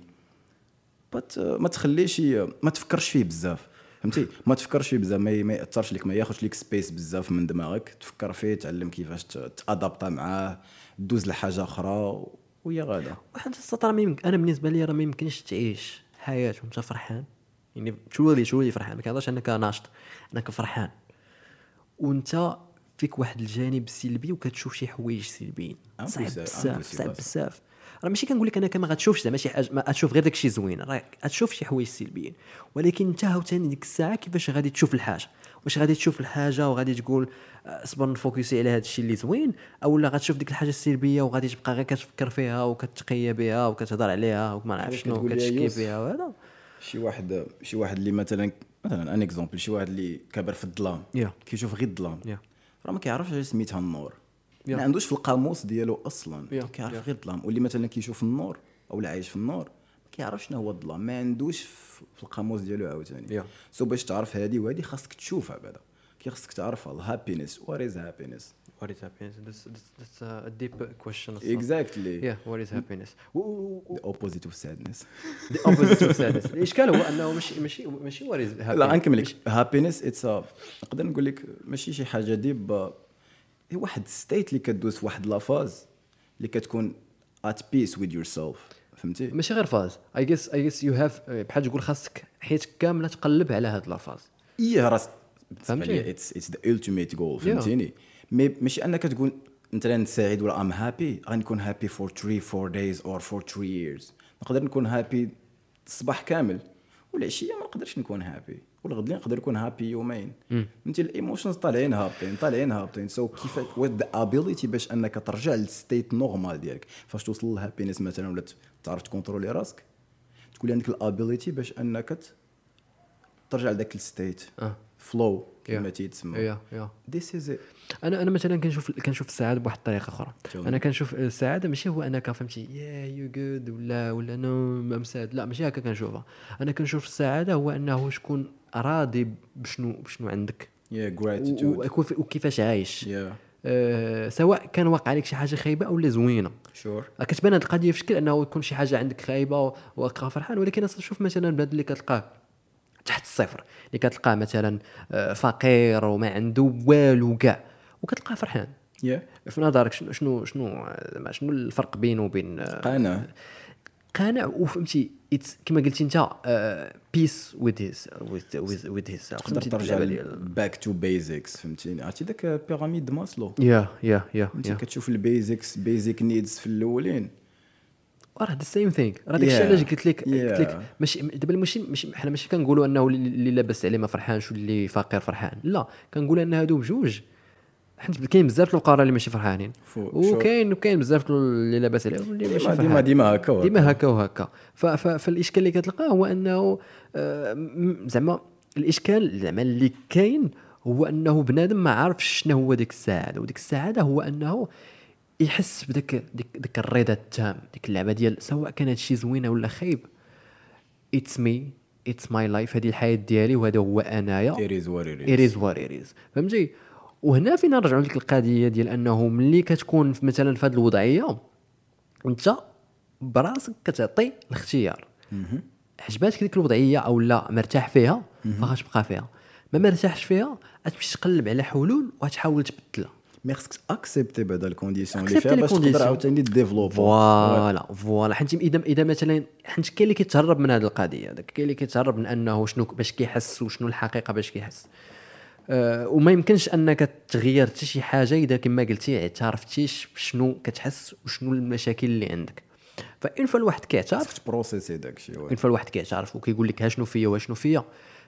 Speaker 3: بات ما تخليش ي- ما تفكرش فيه بزاف فهمتي ما تفكرش فيه بزاف ما ي- ما ياثرش لك ما ياخذش لك سبيس بزاف من دماغك تفكر فيه تعلم كيفاش ت- تادابتا معاه دوز لحاجه اخرى ويا غادا
Speaker 2: واحد السطر ما يمكن انا بالنسبه لي راه ما يمكنش تعيش حياه وانت فرحان يعني تولي تولي فرحان ما كنهضرش انك ناشط انك فرحان وانت فيك واحد الجانب سلبي وكتشوف شي حوايج سلبيين
Speaker 3: أم
Speaker 2: صعب
Speaker 3: بزاف- أم
Speaker 2: بزاف
Speaker 3: بزاف.
Speaker 2: صعب بزاف راه ماشي كنقول لك انك ما غتشوفش زعما شي حاجه ما غتشوف غير داكشي زوين راه غتشوف شي حوايج سلبيين ولكن انت عاوتاني ديك الساعه كيفاش غادي تشوف الحاجه واش غادي تشوف الحاجه وغادي تقول آه، صبر نفوكسي على هذا الشيء اللي زوين او لا غتشوف ديك الحاجه السلبيه وغادي تبقى غير كتفكر فيها وكتقي بها وكتهضر عليها وما نعرف شنو
Speaker 3: كتقول لي يا
Speaker 2: وكتشكي
Speaker 3: يوسف.
Speaker 2: بها وهذا
Speaker 3: شي واحد شي واحد اللي مثلا مثلا ان اكزومبل شي واحد اللي كبر في الظلام
Speaker 2: Yeah.
Speaker 3: كيشوف غير الظلام
Speaker 2: Yeah.
Speaker 3: راه ما كيعرفش علاش سميتها النور ما عندوش في القاموس ديالو اصلا
Speaker 2: Yeah.
Speaker 3: كيعرف غير الظلام واللي مثلا كيشوف النور او لا عايش في النور ما كيعرفش شنو هو الظلام ما عندوش في في القاموس ديالو عاوتاني
Speaker 2: Yeah.
Speaker 3: سو باش تعرف هذه وهذه خاصك تشوفها بعدا كي خاصك تعرفها الهابينس وات از هابينس
Speaker 2: What is happiness? That's, that's, that's a deep question.
Speaker 3: اكزاكتلي
Speaker 2: Yeah, what is happiness? و-
Speaker 3: the opposite of sadness
Speaker 2: The opposite of sadness.
Speaker 3: *laughs*
Speaker 2: الاشكال هو انه ماشي ماشي ماشي what is happiness.
Speaker 3: لا غنكمل لك هابينس اتس نقدر نقول لك ماشي شي حاجه ديب هي واحد ستيت اللي كدوز في واحد لافاز اللي كتكون ات بيس ويز يور سيلف فهمتي
Speaker 2: ماشي غير فاز اي جيس اي جيس يو هاف آه، بحال تقول خاصك حياتك كامله تقلب على هاد لافاز
Speaker 3: اي إيه، راس
Speaker 2: فهمتي.
Speaker 3: فهمتي اتس اتس ذا التيميت جول فهمتيني مي ماشي انك تقول انت الآن سعيد ولا ام هابي غنكون هابي فور 3 4 دايز اور فور 3 ييرز نقدر نكون هابي الصباح كامل والعشيه ما نقدرش نكون هابي والغد نقدر نكون هابي يومين فهمتي الايموشنز طالعين هابطين طالعين هابطين سو كيف وذ ابيليتي باش انك ترجع للستيت نورمال ديالك فاش توصل للهابينس مثلا ولا ت- تعرف تكونترولي راسك تكون عندك الابيليتي باش انك ت- ترجع لذاك الستيت
Speaker 2: آه.
Speaker 3: فلو كما
Speaker 2: Yeah.
Speaker 3: تيتسمى
Speaker 2: يا يا
Speaker 3: ذيس از
Speaker 2: انا انا مثلا كنشوف كنشوف السعاده بواحد الطريقه اخرى
Speaker 3: تمام.
Speaker 2: انا كنشوف السعاده ماشي هو انك فهمتي يا يو جود ولا ولا نو ام ساد لا ماشي هكا كنشوفها انا كنشوف السعاده هو انه شكون راضي بشنو بشنو عندك
Speaker 3: يا
Speaker 2: و-
Speaker 3: جراتيتود
Speaker 2: وكيف- وكيفاش عايش
Speaker 3: يا
Speaker 2: أه سواء كان واقع عليك شي حاجه خايبه ولا زوينه
Speaker 3: شور
Speaker 2: راه كتبان هاد القضيه في شكل انه يكون شي حاجه عندك خايبه واقع فرحان ولكن أصلا شوف مثلا البلاد اللي كتلقاه تحت الصفر اللي كتلقاه مثلا آه، فقير وما عنده والو كاع وكتلقاه فرحان
Speaker 3: يا
Speaker 2: في نظرك شنو شنو شنو آه، زعما شنو الفرق بينه وبين آه،
Speaker 3: قناع
Speaker 2: قانع وفهمتي it's- كما قلتي آه، انت بيس وذ هيز وذ هيز
Speaker 3: تقدر ترجع باك تو بيزكس فهمتيني عرفتي ذاك بيراميد ماسلو
Speaker 2: يا يا يا
Speaker 3: انت كتشوف البيزكس بيزك نيدز في الاولين
Speaker 2: راه ذا سيم ثينك راه داكشي
Speaker 3: Yeah.
Speaker 2: علاش قلت لك قلت لك
Speaker 3: Yeah.
Speaker 2: ماشي دابا ماشي ماشي حنا ماشي كنقولوا انه اللي- اللي لاباس عليه ما فرحانش واللي فقير فرحان لا كنقول ان هادو بجوج حيت كاين بزاف القراء اللي ماشي فرحانين
Speaker 3: فو-
Speaker 2: وكاين وكاين بزاف اللي لاباس عليه واللي ماشي
Speaker 3: ديما
Speaker 2: فرحان
Speaker 3: ديما ديما هكا وهكا.
Speaker 2: ديما هكا وهكا ف- ف- فالاشكال اللي كتلقاه هو انه آه، م- زعما الاشكال زعما اللي كاين هو انه بنادم ما عارفش شنو هو ديك السعاده وديك السعاده هو انه يحس بديك ديك, ديك الرضا التام ديك اللعبه ديال سواء كان هادشي زوينه ولا خايب اتس مي اتس ماي لايف هذه الحياه ديالي وهذا هو انايا
Speaker 3: It is what it is.
Speaker 2: it is what it is فهمتي وهنا فين نرجعوا لك القضيه ديال انه ملي كتكون في- مثلا في هذه الوضعيه انت براسك كتعطي الاختيار عجباتك ديك الوضعيه او لا مرتاح فيها فغتبقى فيها ما مرتاحش فيها غتمشي تقلب على حلول وغتحاول تبدلها
Speaker 3: مي خصك اكسبتي بعدا الكونديسيون اللي
Speaker 2: Accepter
Speaker 3: فيها
Speaker 2: les
Speaker 3: باش
Speaker 2: conditions.
Speaker 3: تقدر عاوتاني ديفلوبي
Speaker 2: فوالا فوالا حيت اذا اذا مثلا حيت كاين اللي كيتهرب من هذه القضيه داك كاين اللي كيتهرب من انه شنو باش كيحس وشنو الحقيقه باش كيحس أه وما يمكنش انك تغير حتى شي حاجه اذا كما قلتي اعترفتيش بشنو كتحس وشنو المشاكل اللي عندك فان فالواحد كيعترف
Speaker 3: خصك تبروسيسي داكشي وي.
Speaker 2: اون فوا الواحد كيعترف وكيقول لك ها شنو فيا وشنو فيا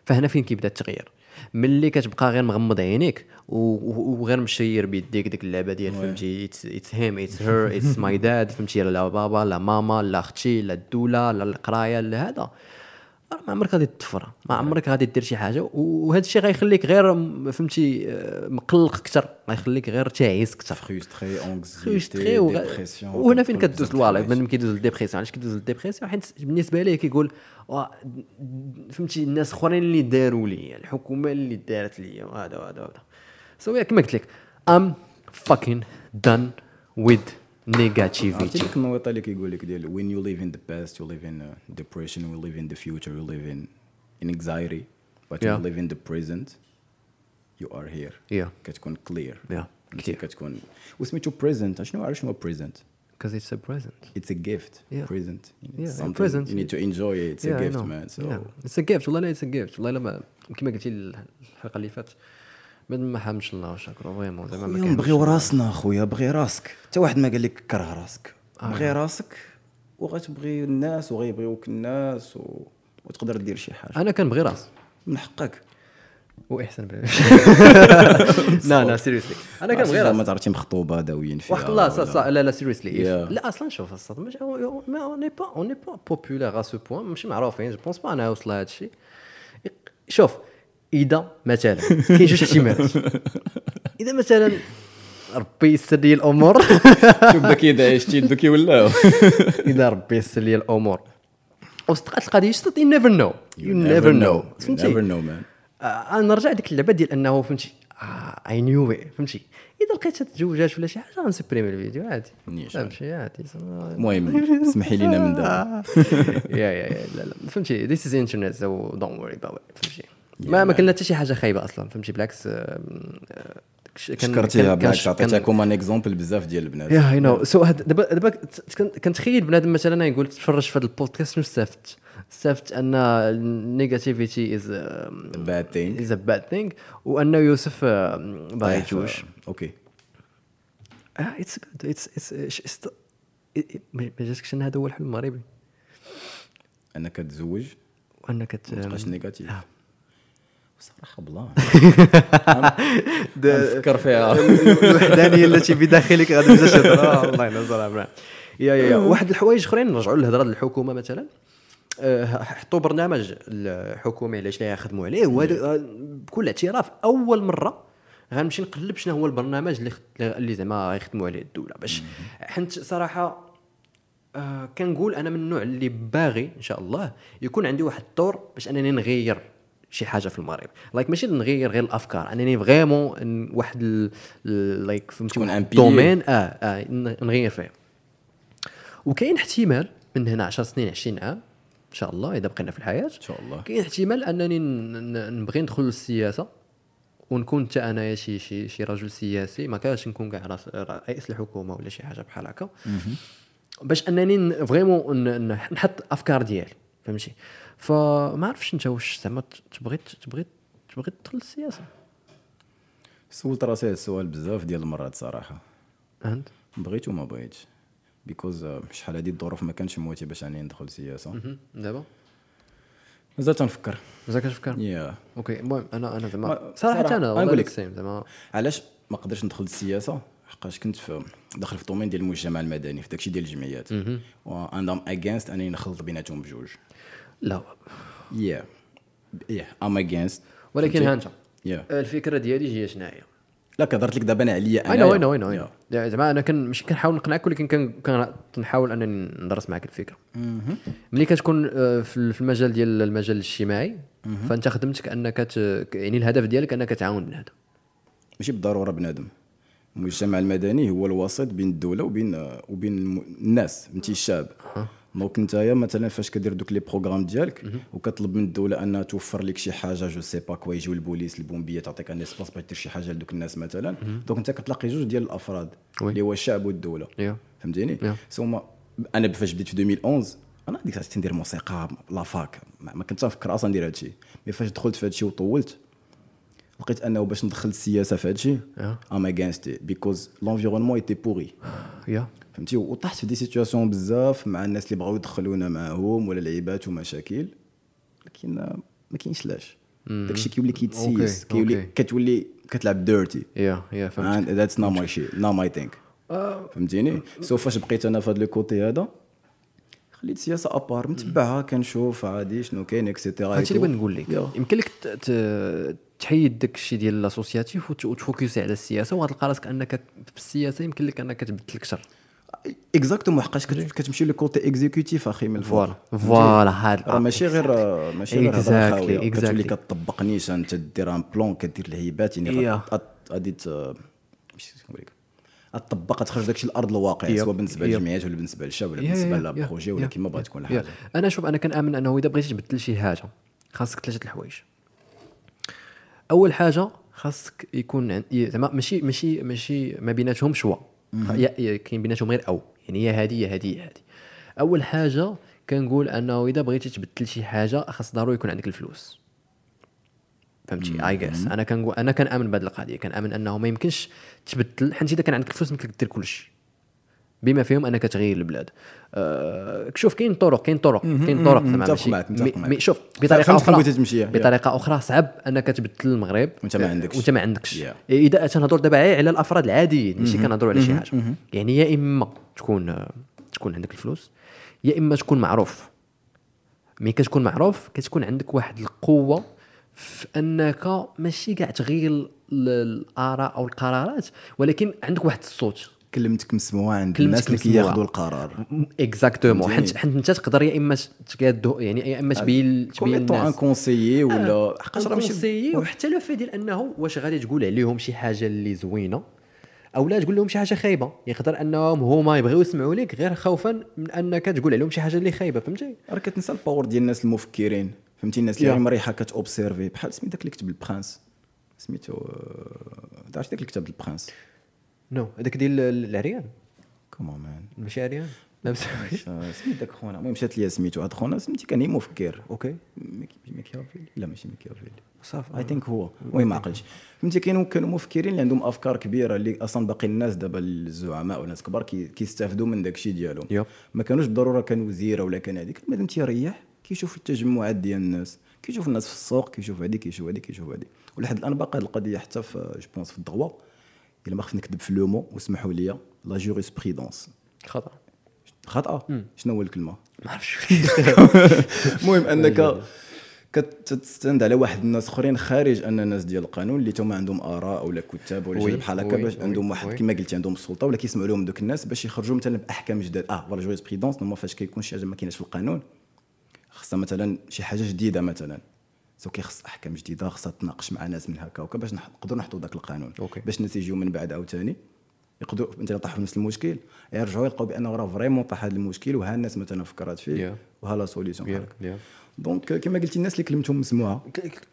Speaker 2: فهنا فين كيبدا التغيير ملي كتبقى غير مغمض عينيك و- و- وغير مشير بيديك ديك اللعبه ديال فهمتي اتس هيم اتس هير اتس ماي داد فهمتي لا بابا لا ماما لا اختي لا الدوله لا القرايه لا هذا راه ما عمرك غادي تطفر ما عمرك غادي دير شي حاجه و- وهذا الشيء غيخليك غير م- فهمتي آه، مقلق اكثر غيخليك غير تعيس اكثر
Speaker 3: فخيستري
Speaker 2: فريستري
Speaker 3: اونكزيتي
Speaker 2: وغ...
Speaker 3: ديبرسيون
Speaker 2: وهنا فين
Speaker 3: كتدخل
Speaker 2: كدوز
Speaker 3: بزاف
Speaker 2: الوالد
Speaker 3: الحوايج.
Speaker 2: من كيدوز للديبريسيون علاش كيدوز للديبريسيون حيت بالنسبه ليه كيقول "وا- فهمتي الناس اخرين اللي داروا لي الحكومه اللي دارت لي وهذا وهذا وهذا سو كما قلت لك ام فاكين دان ويز
Speaker 3: عرفتي
Speaker 2: نيجاتيفيتي
Speaker 3: ديك النويطه اللي كيقول لك ديال وين يو ليف ان ذا باست يو ليف ان ديبريشن يو ليف ان ذا فيوتشر يو ليف ان ان انكزايتي بات يو
Speaker 2: Yeah.
Speaker 3: ليف ان ذا بريزنت يو ار هير
Speaker 2: Yeah.
Speaker 3: كتكون كلير
Speaker 2: Yeah.
Speaker 3: كتير كتكون وسميتو بريزنت شنو عارف شنو بريزنت
Speaker 2: because it's a present
Speaker 3: It's a gift.
Speaker 2: Yeah.
Speaker 3: Present.
Speaker 2: Yeah,
Speaker 3: It's something
Speaker 2: present.
Speaker 3: You need to enjoy it. It's a
Speaker 2: Yeah, I
Speaker 3: gift,
Speaker 2: know.
Speaker 3: man. So
Speaker 2: Yeah. It's a gift. والله لا it's a gift. والله لما كما قلتي الحلقه اللي فاتت بعد ما حامش الله وشكرو فريمون زعما ما
Speaker 3: خويا
Speaker 2: كاينش.
Speaker 3: نبغيو راسنا خويا بغي راسك حتى واحد ما قال لك كره راسك بغي راسك وغتبغي الناس وغيبغيوك الناس و... وتقدر دير شي حاجه
Speaker 2: انا كنبغي راسي
Speaker 3: من حقك
Speaker 2: واحسن
Speaker 3: *laughs*
Speaker 2: *laughs* لا لا سيريسلي انا
Speaker 3: عرفتي
Speaker 2: كنبغي
Speaker 3: ما
Speaker 2: راسي
Speaker 3: تعرفتي مخطوبه داويين فيها
Speaker 2: واحد الله صا
Speaker 3: ولا-
Speaker 2: صا لا لا سيريسلي
Speaker 3: Yeah.
Speaker 2: لا اصلا شوف الصاد مش ما اوني با اوني با بوبولار ا سو بوان ماشي معروفين جو بونس با انا وصل هذا الشيء شوف اذا مثلا كاين جوج
Speaker 3: *laughs*
Speaker 2: احتمالات اذا مثلا ربي يسر لي *laughs* الامور
Speaker 3: شوف داك يدعش تيل دوك يولاو
Speaker 2: اذا ربي يسر لي الامور وصدقات القضيه صدق يو نيفر نو *laughs* يو نيفر نو
Speaker 3: يو نيفر نو مان
Speaker 2: آه، انا نرجع ديك اللعبه ديال انه فهمتي آه، اي نيو وي فهمتي اذا لقيت تزوجات ولا شي حاجه غنسبريمي الفيديو عادي
Speaker 3: نيش.
Speaker 2: فهمتي عادي زعما-
Speaker 3: المهم اسمحي لينا من دابا
Speaker 2: آه. يا يا يا لا لا فهمتي ذيس از انترنت سو دونت وري اباوت فهمتي ما ما كنا حتى شي حاجه خايبه اصلا فهمتي بالعكس آه، آه، كش- كان-
Speaker 3: شكرتيها
Speaker 2: كان-
Speaker 3: بالعكس
Speaker 2: كان-
Speaker 3: عطيتها ان اكزومبل بزاف ديال البنات
Speaker 2: يا اي نو سو هاد- دابا دابا كت- كن- كنتخيل بنادم مثلا يقول تفرج في هذا البودكاست شنو استفدت استفدت ان النيجاتيفيتي از
Speaker 3: باد ثينك
Speaker 2: از ا باد ثينغ وان يوسف آه، باغي
Speaker 3: طيب،
Speaker 2: يتزوج
Speaker 3: اوكي
Speaker 2: اه اتس جود اتس اتس ما جاتكش ان هذا هو الحلم المغربي
Speaker 3: انك تزوج
Speaker 2: وانك ت- *laughs*
Speaker 3: متبقاش نيجاتيف
Speaker 2: آه.
Speaker 3: بصراحه
Speaker 2: *laughs*
Speaker 3: بلا *laughs* نفكر فيها
Speaker 2: *laughs* الوحدانيه التي بداخلك غادي تبدا *laughs* شي هضره والله الا صراحه يا *laughs* يا يا واحد الحوايج اخرين نرجعوا للهضره ديال الحكومه مثلا آه، حطوا برنامج الحكومي علاش لا يخدموا عليه وهذا آه، بكل اعتراف اول مره غنمشي نقلب شنو هو البرنامج اللي خد- اللي زعما غيخدموا عليه الدوله باش حنت صراحه آه كنقول انا من النوع اللي باغي ان شاء الله يكون عندي واحد الدور باش انني نغير شي حاجه في المغرب لايك ماشي نغير غير الافكار انني فريمون ن- واحد لايك فهمتي
Speaker 3: تكون
Speaker 2: واحد
Speaker 3: un pilier.
Speaker 2: الدومين اه اه ن- نغير فيه وكاين احتمال من هنا 10 سنين 20 عام ان شاء الله اذا بقينا في الحياه ان
Speaker 3: شاء الله.
Speaker 2: كاين احتمال انني ن- ن- نبغي ندخل للسياسه ونكون حتى انايا شي شي شي رجل سياسي ما كانش نكون كاع راس- رئيس الحكومه ولا شي حاجه بحال هكا باش انني ن- فريمون ن- ن- نحط الافكار ديالي فهمتي فما عرفتش انت واش زعما ت- تبغي تبغي تبغي تدخل للسياسه
Speaker 3: سولت راسي هاد السؤال بزاف ديال المرات صراحه
Speaker 2: فهمت
Speaker 3: بغيت وما بغيتش بيكوز شحال هادي الظروف ما كانش مواتي باش اني ندخل السياسه
Speaker 2: مهم. دابا
Speaker 3: مازال تنفكر
Speaker 2: مازال كتفكر
Speaker 3: يا
Speaker 2: اوكي المهم انا انا زعما
Speaker 3: ما-
Speaker 2: صراحه
Speaker 3: صراحة،
Speaker 2: انا
Speaker 3: غنقول
Speaker 2: والله
Speaker 3: لك.
Speaker 2: السيم زعما
Speaker 3: علاش ما قدرتش ندخل السياسه حقاش كنت في داخل في الدومين ديال المجتمع المدني في داكشي ديال الجمعيات وانا ام اجينست انني نخلط بيناتهم بجوج
Speaker 2: لا
Speaker 3: يا يا ام اجينست
Speaker 2: ولكن ها انت
Speaker 3: يا
Speaker 2: الفكره ديالي هي شناهي
Speaker 3: لا كهضرت لك دابا انا عليا انا
Speaker 2: اي نو اي نو اي نو
Speaker 3: يا.
Speaker 2: زعما انا كان مش كنحاول نقنعك ولكن كان- كان- كنحاول انني ندرس معك الفكره ملي كتكون آه، في ال- في المجال ديال المجال الاجتماعي فانت خدمتك انك ت- ك- يعني الهدف ديالك انك تعاون بنادم
Speaker 3: ماشي بالضروره بنادم المجتمع المدني هو الوسيط بين الدوله وبين وبين الم- الناس فهمتي الشعب دونك نتايا مثلا فاش كدير دوك لي بروغرام ديالك وكطلب من الدوله انها توفر لك شي حاجه جو سي با كوا يجيو البوليس البومبيه تعطيك ان اسباس باش دير شي حاجه لدوك الناس مثلا دونك انت كتلاقي جوج ديال الافراد
Speaker 2: وي.
Speaker 3: اللي هو الشعب والدوله
Speaker 2: Yeah.
Speaker 3: فهمتيني
Speaker 2: Yeah.
Speaker 3: سوما انا فاش بديت في 2011 انا هذيك الساعه ندير موسيقى لا فاك ما ما كنتش نفكر اصلا ندير هادشي مي فاش دخلت في هادشي وطولت لقيت انه باش ندخل السياسه في هادشي
Speaker 2: آه.
Speaker 3: ام اغينست بيكوز لونفيرونمون ايتي بوري
Speaker 2: يا
Speaker 3: فهمتي وطحت في دي سيتوياسيون بزاف مع الناس اللي بغاو يدخلونا معاهم ولا لعيبات ومشاكل لكن ما كاينش لاش داكشي كيولي كيتسيس
Speaker 2: أوكي، إيه،
Speaker 3: كيولي
Speaker 2: أوكي.
Speaker 3: كتولي كتلعب ديرتي
Speaker 2: يا يا فهمت
Speaker 3: and that's not my shit not my thing
Speaker 2: آه.
Speaker 3: فهمتيني سو فاش بقيت انا في هذا الكوتي هذا خليت السياسه ابار متبعها كنشوف عادي شنو كاين اكسيتيرا
Speaker 2: هادشي اللي بغيت نقول لك يمكن لك ت- ت- تحيد داك الشيء ديال لاسوسياتيف وت- وتفوكسي على السياسه وغتلقى راسك انك في السياسه يمكن لك انك تبدل كثر
Speaker 3: اكزاكتومون حقاش كت- كتمشي للكوتي اكزيكوتيف اخي من الفوق
Speaker 2: فوالا فوالا
Speaker 3: راه
Speaker 2: هاد
Speaker 3: ماشي غير ماشي غير
Speaker 2: Exactly,
Speaker 3: هضره خاويه
Speaker 2: exactly.
Speaker 3: كتولي كتطبق نيشان انت دير ان بلون كدير الهيبات يعني
Speaker 2: Yeah.
Speaker 3: غت- غت- غادي ت- ماشي نقول لك غتطبق تخرج داكشي الارض الواقع
Speaker 2: Yeah.
Speaker 3: سواء بالنسبه
Speaker 2: Yeah.
Speaker 3: للجمعيات ولا بالنسبه للشعب ولا
Speaker 2: يا-
Speaker 3: بالنسبه
Speaker 2: يا- يا-
Speaker 3: للبروجي ولا
Speaker 2: يا-
Speaker 3: كيما بغات تكون
Speaker 2: يا.
Speaker 3: الحاجه
Speaker 2: انا شوف انا كنامن انه اذا بغيتي تبدل شي حاجه خاصك ثلاثه الحوايج اول حاجه خاصك يكون عن- ي- زعما ماشي ماشي ماشي ما بيناتهم شوا خ- يا- يا كاين بيناتهم غير او يعني يا هادي يا هادي يا هادي اول حاجه كنقول انه اذا بغيتي تبدل شي حاجه خاص ضروري يكون عندك الفلوس فهمتي اي جيس انا كنقول انا كنامن بهذه القضيه كنامن انه ما يمكنش تبدل حيت اذا كان عندك الفلوس يمكن لك دير كلشي بما فيهم انك تغير البلاد أه شوف كاين طرق كاين طرق كاين طرق زعما
Speaker 3: متفق
Speaker 2: ماشي-
Speaker 3: معك، متفق
Speaker 2: مي-
Speaker 3: معك.
Speaker 2: مي- شوف
Speaker 3: فهمت
Speaker 2: بطريقه
Speaker 3: فين
Speaker 2: اخرى
Speaker 3: بغيتي تمشي، يا.
Speaker 2: بطريقه اخرى صعب انك تبدل المغرب
Speaker 3: وأنت ما
Speaker 2: أه،
Speaker 3: عندكش.
Speaker 2: وانت ما عندكش
Speaker 3: يا.
Speaker 2: اذا تنهضر دابا غير على الافراد العاديين ماشي كنهضروا على شي حاجه يعني يا اما تكون آه، تكون عندك الفلوس يا اما تكون معروف مي كتكون معروف كتكون عندك واحد القوه في انك ماشي كاع تغير ال- الاراء او القرارات ولكن عندك واحد الصوت
Speaker 3: كلمتك مسموعه عند
Speaker 2: كلمتك
Speaker 3: الناس اللي
Speaker 2: مسموعة.
Speaker 3: كياخذوا القرار
Speaker 2: اكزاكتومون
Speaker 3: فهمتيني؟
Speaker 2: حيت حيت انت تقدر يا اما تقاد يعني يا اما تبين تبين
Speaker 3: كوميتون ان
Speaker 2: الناس
Speaker 3: كونسيي
Speaker 2: Ah, آه،
Speaker 3: ولا حقاش راه
Speaker 2: كونسيي وحتى لو في ديال انه واش غادي تقول عليهم شي حاجه اللي زوينه او لا تقول لهم شي حاجه خايبه يقدر انهم هما يبغيو يسمعوا لك غير خوفا من انك تقول عليهم شي حاجه اللي خايبه فهمتي
Speaker 3: راه كتنسى الباور ديال الناس المفكرين فهمتي الناس اللي
Speaker 2: يا.
Speaker 3: غير مريحه كتوبسيرفي بحال سميت داك اللي كتب البرانس سميتو آه، تعرف داك اللي كتب البرانس
Speaker 2: نو هذاك ديال ال- العريان
Speaker 3: كومون مان
Speaker 2: ماشي عريان لا بس-
Speaker 3: آه، *laughs* سميت داك خونا المهم مشات ليا سميتو هاد خونا سميتي كان هي مفكر
Speaker 2: اوكي
Speaker 3: ميكي- ميكيافيلي لا ماشي ميكيافيلي صافي اي ثينك هو المهم ما عقلتش فهمتي كاينوا كانوا مفكرين اللي عندهم افكار كبيره اللي اصلا باقي الناس دابا الزعماء والناس كبار كي- كيستافدوا من داك الشيء ديالهم
Speaker 2: يب.
Speaker 3: ما كانوش بالضروره كان وزير ولا كان هذيك مادام تيريح كيشوف التجمعات ديال الناس كيشوف الناس في السوق كيشوف هذيك كيشوف هذيك كيشوف هذيك ولحد الان باقي هاد القضيه حتى في جو بونس في الضغوه الا ما خفت نكذب في لومو وسمحوا لي لا جوريسبريدونس
Speaker 2: خطا
Speaker 3: خاطئه شنو هو الكلمه
Speaker 2: ما عرفتش
Speaker 3: *laughs* المهم انك كتستند على واحد الناس اخرين خارج ان الناس ديال القانون اللي تما عندهم اراء ولا كتاب ولا
Speaker 2: وي،
Speaker 3: شي بحال هكا
Speaker 2: وي،
Speaker 3: باش
Speaker 2: وي،
Speaker 3: عندهم واحد
Speaker 2: وي.
Speaker 3: كما قلتي عندهم السلطه ولا كيسمعوا لهم دوك الناس باش يخرجوا مثلا باحكام جداد اه فوالا جوريس بريدونس نورمال فاش كيكون شي حاجه ما كايناش في القانون خاصها مثلا شي حاجه جديده مثلا سو كيخص احكام جديده خاصها تناقش مع ناس من هكا وكا باش نح- نقدروا نحطوا ذاك القانون
Speaker 2: أوكي.
Speaker 3: باش الناس يجيو من بعد عاوتاني يقدروا انت طاحوا في نفس المشكل يرجعوا يلقاو بانه راه فريمون طاح هذا المشكل وها الناس مثلا فكرات فيه
Speaker 2: Yeah.
Speaker 3: وها لا سوليسيون بحال هكا. دونك كما euh, قلتي الناس اللي كلمتهم مسموعه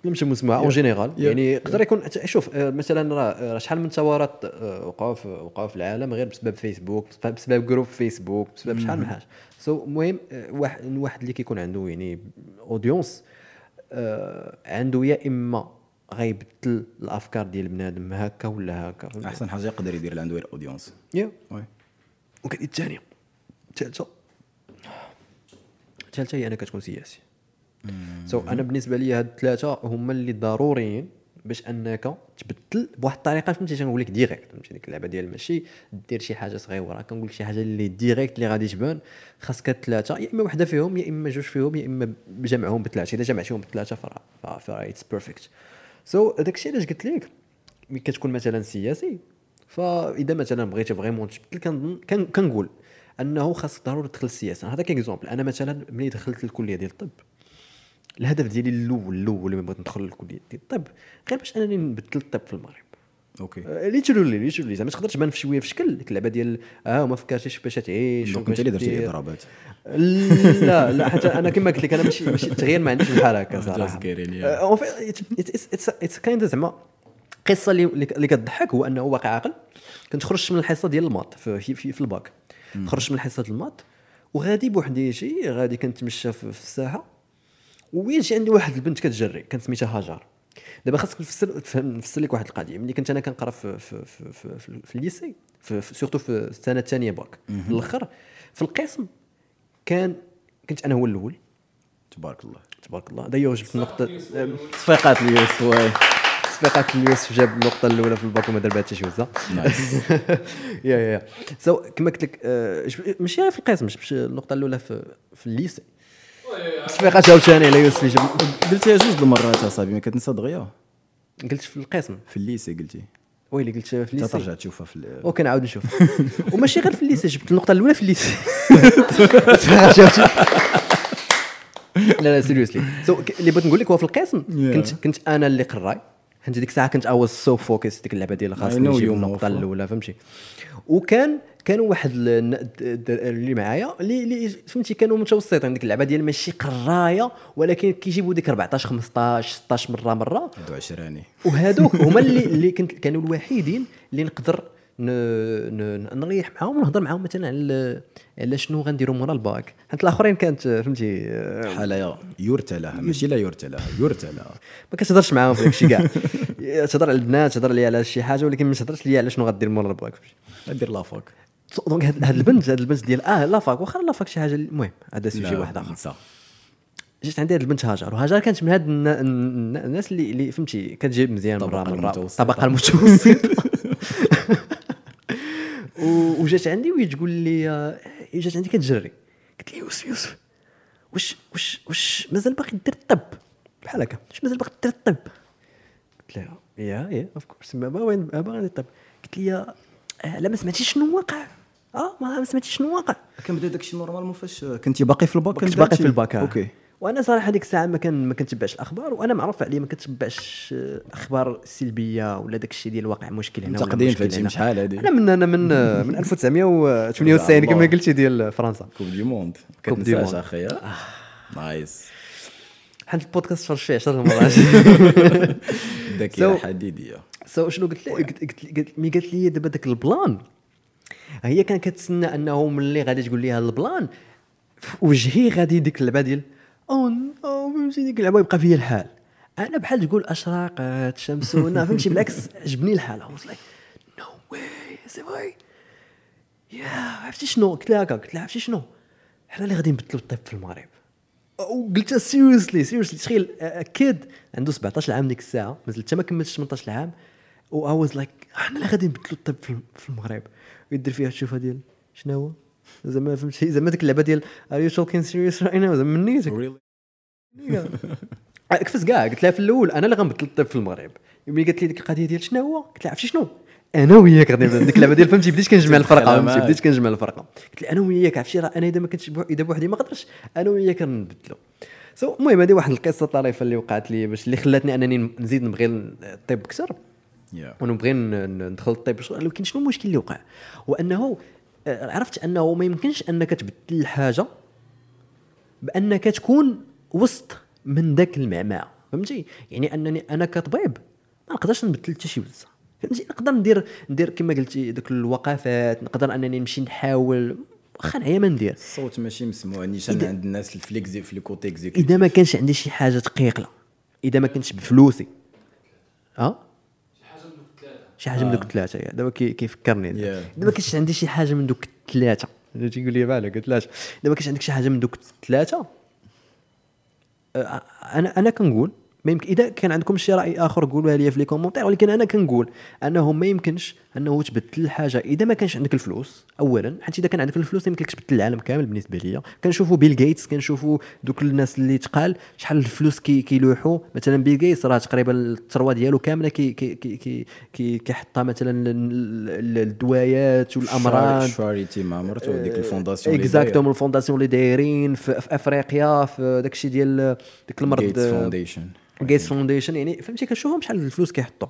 Speaker 2: كلمش مسموع اون جينيرال
Speaker 3: يا.
Speaker 2: يعني يقدر يكون شوف آه، مثلا راه راه شحال من ثورات آه، وقعوا في وقعوا في العالم غير بسبب فيسبوك بسبب- بسبب جروب فيسبوك بسبب شحال من حاجه سو المهم آه، واحد الواحد اللي كيكون عنده يعني اودينس عنده يا اما غيبدل الافكار ديال بنادم هكا ولا هكا
Speaker 3: احسن حاجه يقدر يدير اللي عنده غير اودينس
Speaker 2: يا
Speaker 3: وي
Speaker 2: وكاين الثانيه الثالثه الثالثه هي انك تكون سياسي سو انا بالنسبه لي هاد الثلاثه هما اللي ضروريين باش انك تبدل بواحد الطريقه فهمتي تنقول لك ديريكت فهمتي ديك اللعبه ديال ماشي دير شي حاجه صغيره كنقول لك شي حاجه اللي ديريكت اللي غادي تبان خاصك هاد الثلاثه يا اما وحده فيهم يا اما جوج فيهم يا اما بجمعهم بثلاثه اذا جمعتيهم بثلاثه فراه فراه اتس بيرفكت سو هذاك الشيء علاش قلت لك ملي كتكون مثلا سياسي فاذا مثلا بغيتي فريمون تبدل كنظن- كن- كنقول انه خاص ضروري تدخل السياسه هذا كاكزومبل انا مثلا ملي دخلت الكليه ديال الطب الهدف ديالي الاول الاول لما بغيت ندخل للكليه ديال الطب غير باش انني نبدل الطب في المغرب
Speaker 3: اوكي
Speaker 2: ليترولي ليترولي زعما تقدر تبان في شويه في شكل ديك اللعبه ديال اه ما فكرتيش باش تعيش
Speaker 3: دونك
Speaker 2: وباش
Speaker 3: انت اللي درتي
Speaker 2: دير.
Speaker 3: الاضرابات
Speaker 2: لا لا حتى انا كما قلت لك انا ماشي ماشي التغيير ما عنديش آه، بحال
Speaker 3: *laughs*
Speaker 2: هكا صراحه
Speaker 3: تذكيرين، يا.
Speaker 2: اون في اتس كايند زعما القصه اللي اللي كتضحك هو انه واقع عاقل كنت خرجت من الحصه ديال الماط في, في, في, في الباك خرجت من الحصه ديال الماط وغادي بوحديتي غادي كنتمشى في, في الساحه ويجي عندي واحد البنت كتجري كانت سميتها هاجر دابا خاصك نفسر تفهم نفسر لك واحد القضيه ملي كنت انا كنقرا في في في في, في, في الليسي في في- سورتو في السنه الثانيه باك في الاخر في القسم كان كنت انا هو الاول
Speaker 3: تبارك الله
Speaker 2: تبارك الله دايوغ جبت النقطه تصفيقات اليوسف واي تصفيقات اليوسف جاب النقطه الاولى في الباك وما دار بها حتى شي وزه *laughs* يا يا يا سو كما قلت لك آه، جب- ماشي غير في القسم جبت النقطه الاولى في في الليسي تصفيقات عاوتاني على يوسف اللي جاب
Speaker 3: قلتيها جوج د المرات اصاحبي ما كتنسى دغيا
Speaker 2: قلت في القسم
Speaker 3: في الليسي قلتي
Speaker 2: ويلي قلت في
Speaker 3: حتى
Speaker 2: الليسي
Speaker 3: ترجع تشوفها في ال-
Speaker 2: وكنعاود
Speaker 3: *laughs*
Speaker 2: نشوف وماشي غير في الليسي جبت النقطه الاولى في الليسي شفتي؟ لا لا سيريوسلي سو اللي بغيت نقول لك هو في القسم كنت كنت انا اللي قراي فهمتي ديك الساعه كنت اواز سو فوكس ديك اللعبه ديال
Speaker 3: I
Speaker 2: خاصني
Speaker 3: know
Speaker 2: نجيب
Speaker 3: you
Speaker 2: النقطه
Speaker 3: more.
Speaker 2: الاولى فهمتي وكان كانوا واحد ال- الن- الد- اللي معايا اللي اللي فهمتي كانوا متوسطين ديك اللعبه ديال ماشي قرايه ولكن كيجيبوا ديك 14 15 16 مره مره
Speaker 3: دو عشراني
Speaker 2: وهادوك هما اللي اللي كنت كانوا الوحيدين اللي نقدر ن... ن... نريح معاهم ونهضر معاهم مثلا على ال- على شنو غنديروا مورا الباك حيت الاخرين كانت آه، فهمتي آه،
Speaker 3: حالة يرتى لها ماشي لا يرتى لها يرتى *laughs* لها
Speaker 2: ما كتهضرش معاهم في داكشي
Speaker 3: *laughs*
Speaker 2: كاع تهضر على البنات تهضر لي على شي حاجه ولكن ما تهضرش لي على شنو غدير مورا الباك
Speaker 3: دير لافاك
Speaker 2: دونك هاد هاد البنت هاد البنت ديال اه لافاك واخا لافاك شي حاجه المهم هذا سوجي
Speaker 3: لا،
Speaker 2: واحد اخر
Speaker 3: نسى.
Speaker 2: جات عندي هاد البنت هاجر وهاجر كانت من هاد الن- الن- الناس اللي اللي فهمتي كتجيب مزيان
Speaker 3: الطبقة
Speaker 2: مرة مرة
Speaker 3: المتوسطة.
Speaker 2: الطبقه المتوسطه *laughs* و- وجات عندي وهي تقول لي آه، جات عندي كتجري قلت لي يوسف يوسف واش واش واش مازال باغي دير الطب بحال هكا واش مازال باغي دير الطب قلت لها يا يا اوف كورس ما وين باغي ندير الطب قلت لي آه، لا ما سمعتي شنو واقع اه ما ما سمعتي شنو واقع
Speaker 3: كنبدا داكشي نورمالمون فاش كنتي باقي في الباك آه.
Speaker 2: كنت
Speaker 3: كنبدا
Speaker 2: باقي
Speaker 3: شي-
Speaker 2: في الباك
Speaker 3: اوكي
Speaker 2: وانا صراحه ديك الساعه ما كان ما كنتبعش الاخبار وانا معروف عليا ما كنتبعش آه، اخبار سلبيه ولا داك الشيء ديال واقع مشكل هنا
Speaker 3: انت
Speaker 2: ولا
Speaker 3: قديم في
Speaker 2: مشكل
Speaker 3: هادشي،
Speaker 2: هنا.
Speaker 3: شحال هادي؟
Speaker 2: انا من انا من آه، من 1998 كما
Speaker 3: *laughs* الله.
Speaker 2: قلتي ديال فرنسا
Speaker 3: كوب دي موند
Speaker 2: كوب دي
Speaker 3: كتنساش
Speaker 2: موند.
Speaker 3: اخي ها؟ نايس
Speaker 2: حنت البودكاست تفرج فيه 10 مرات
Speaker 3: الذاكره
Speaker 2: So-
Speaker 3: حديديه
Speaker 2: سو شنو قلت لي قلت قلت لي- قلت- مي قالت لي دابا داك البلان هي كانت كتسنى انه ملي غادي تقول لي هذا البلان في وجهي غادي ديك اللعبه ديال او ن- او فهمتي ديك اللعبه يبقى فيا الحال انا بحال تقول اشراقت شمسونا فهمتي بالعكس عجبني الحال I was like no way is it right يا عرفتي شنو قلت لها هكا قلت لها عرفتي شنو حنا اللي غادي نبدلوا الطب في المغرب وقلتها سيريوسلي سيريوسلي تخيل كيد عنده 17 عام ديك الساعه مازال حتى ما كملتش 18 عام و اي واز لايك حنا اللي غادي نبدلوا الطب في الم- في المغرب يدير فيها الشوفه ديال شنو هو زعما فهمتي زعما ديك اللعبه ديال ار يو توكين سيريوس رايت ناو زعما منيتك
Speaker 3: Really?
Speaker 2: كفز كاع قلت لها في الاول انا اللي غنبدل الطب في المغرب ملي قالت لي ديك القضيه ديال شنو هو قلت لها عرفتي شنو انا وياك غادي نبدا ديك اللعبه ديال فهمتي بديت كنجمع الفرقه فهمتي بديت كنجمع الفرقه قلت لها انا وياك عرفتي راه انا اذا ما كنتش بو- اذا بوحدي ما قدرش انا وياك غنبدلو سو المهم هذه واحد القصه طريفه اللي وقعت لي باش اللي خلاتني انني نزيد نبغي الطب اكثر
Speaker 3: Yeah.
Speaker 2: ونبغي ن- ن- ندخل للطب شو- ولكن شنو المشكل اللي وقع هو انه آه، عرفت انه ما يمكنش انك تبدل الحاجه بانك تكون وسط من ذاك المعمعه فهمتي يعني انني انا كطبيب ما نقدرش نبدل حتى شي بزاف فهمتي نقدر ندير ندير كما قلتي ذوك الوقفات نقدر انني نمشي نحاول واخا نعيا ما ندير
Speaker 3: الصوت ماشي مسموع نيشان
Speaker 2: إذا-
Speaker 3: عند الناس الفليكزي في الكوتي اكزيكوتيف
Speaker 2: اذا ما كانش عندي شي حاجه تقيقله اذا ما كانش بفلوسي ها شي حاجه من دوك الثلاثه يا. دابا كي- كيفكرني دابا.
Speaker 3: Yeah.
Speaker 2: اذا ما كانش عندي شي حاجه من دوك الثلاثه اللي تيقول لي بالك ثلاثه اذا ما كانش عندك شي حاجه من دوك الثلاثه آه، انا انا كنقول ما يمكن اذا كان عندكم شي راي اخر قولوها لي في لي كومونتير ولكن انا كنقول انه ما يمكنش انه تبدل الحاجه اذا ما كانش عندك الفلوس اولا حيت اذا كان عندك الفلوس ما يمكنلكش تبدل العالم كامل بالنسبه ليا كنشوفوا بيل غيتس كنشوفوا دوك الناس اللي تقال شحال الفلوس كي كيلوحوا مثلا بيل غيتس راه تقريبا الثروه ديالو كامله كي كي كي كي- كي كيحطها مثلا لل- لل- للدوايات والامراض
Speaker 3: شاريتي مع مرته
Speaker 2: آه،
Speaker 3: وديك الفونداسيون اللي دايرة.
Speaker 2: اكزاكتومون الفونداسيون اللي دايرين في, في افريقيا في داك الشيء ديال داك المرض
Speaker 3: Gates Foundation.
Speaker 2: جيتس فاونديشن يعني فهمتي كنشوفهم شحال الفلوس كيحطوا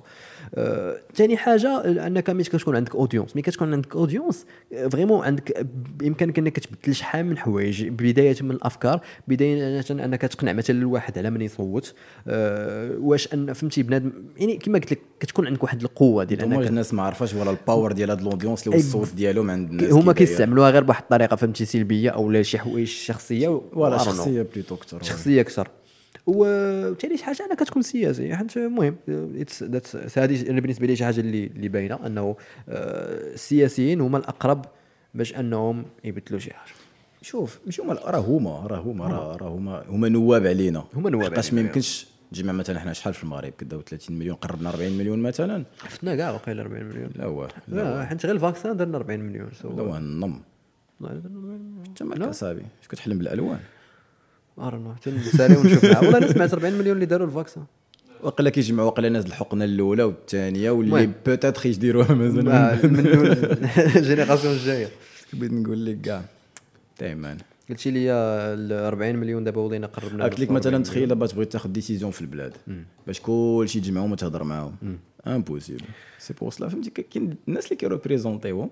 Speaker 2: ثاني آه حاجه انك ملي كتكون عندك اودينس ملي كتكون عندك اودينس فريمون عندك بامكانك انك تبدل شحال من حوايج بدايه من الافكار بدايه انك تقنع مثلا الواحد على من يصوت آه واش ان فهمتي بنادم يعني كما قلت لك كتكون عندك واحد القوه ديال
Speaker 3: هما
Speaker 2: انك
Speaker 3: الناس ما عرفاش ولا الباور ديال هاد الاودينس اللي
Speaker 2: إيه.
Speaker 3: الصوت ديالهم عند الناس
Speaker 2: هما
Speaker 3: كي داير.
Speaker 2: كيستعملوها غير بواحد الطريقه فهمتي سلبيه او لا شي حوايج شخصيه و-
Speaker 3: ولا
Speaker 2: I don't know.
Speaker 3: شخصيه بليتو كثر
Speaker 2: شخصيه اكثر و- وثاني شي حاجه انا كتكون سياسي حيت المهم it's- that's- هذه انا بالنسبه لي شي حاجه اللي اللي باينه انه آه، السياسيين هما الاقرب باش انهم يبدلوا شي حاجه
Speaker 3: شوف مش هما راه هما راه هما راه راه هما هما نواب علينا
Speaker 2: هما نواب
Speaker 3: حقاش ما
Speaker 2: علينا.
Speaker 3: يمكنش تجمع مثلا حنا شحال في المغرب كداو 30 مليون قربنا 40 مليون مثلا
Speaker 2: حفظنا كاع وقيل 40 مليون
Speaker 3: لا هو لا
Speaker 2: لا حيت غير الفاكسان درنا 40 مليون so-
Speaker 3: هو النم
Speaker 2: والله درنا 40 مليون.
Speaker 3: انت مالك اصاحبي اش كتحلم بالالوان
Speaker 2: ارنو حتى نسالي ونشوف العا- والله انا سمعت 40 مليون اللي داروا
Speaker 3: *laughs*
Speaker 2: الفاكسان
Speaker 3: وقلا كيجمعوا وقلا ناس الحقنه الاولى والثانيه واللي
Speaker 2: المهم.
Speaker 3: بوتيتر يديروها *laughs* مازال
Speaker 2: مع- من دون *laughs* الجينيراسيون الجايه
Speaker 3: بغيت نقول لك كاع دائما
Speaker 2: قلتي لي ال 40 مليون دابا ولينا قربنا
Speaker 3: قلت لك
Speaker 2: نوصلوا
Speaker 3: مثلا
Speaker 2: 40
Speaker 3: تخيل دابا تبغي تاخذ ديسيزيون في البلاد باش كلشي يتجمعوا وما تهضر معاهم امبوسيبل سي بور سلا فهمتي ك- كاين الناس اللي كيريبريزونتيهم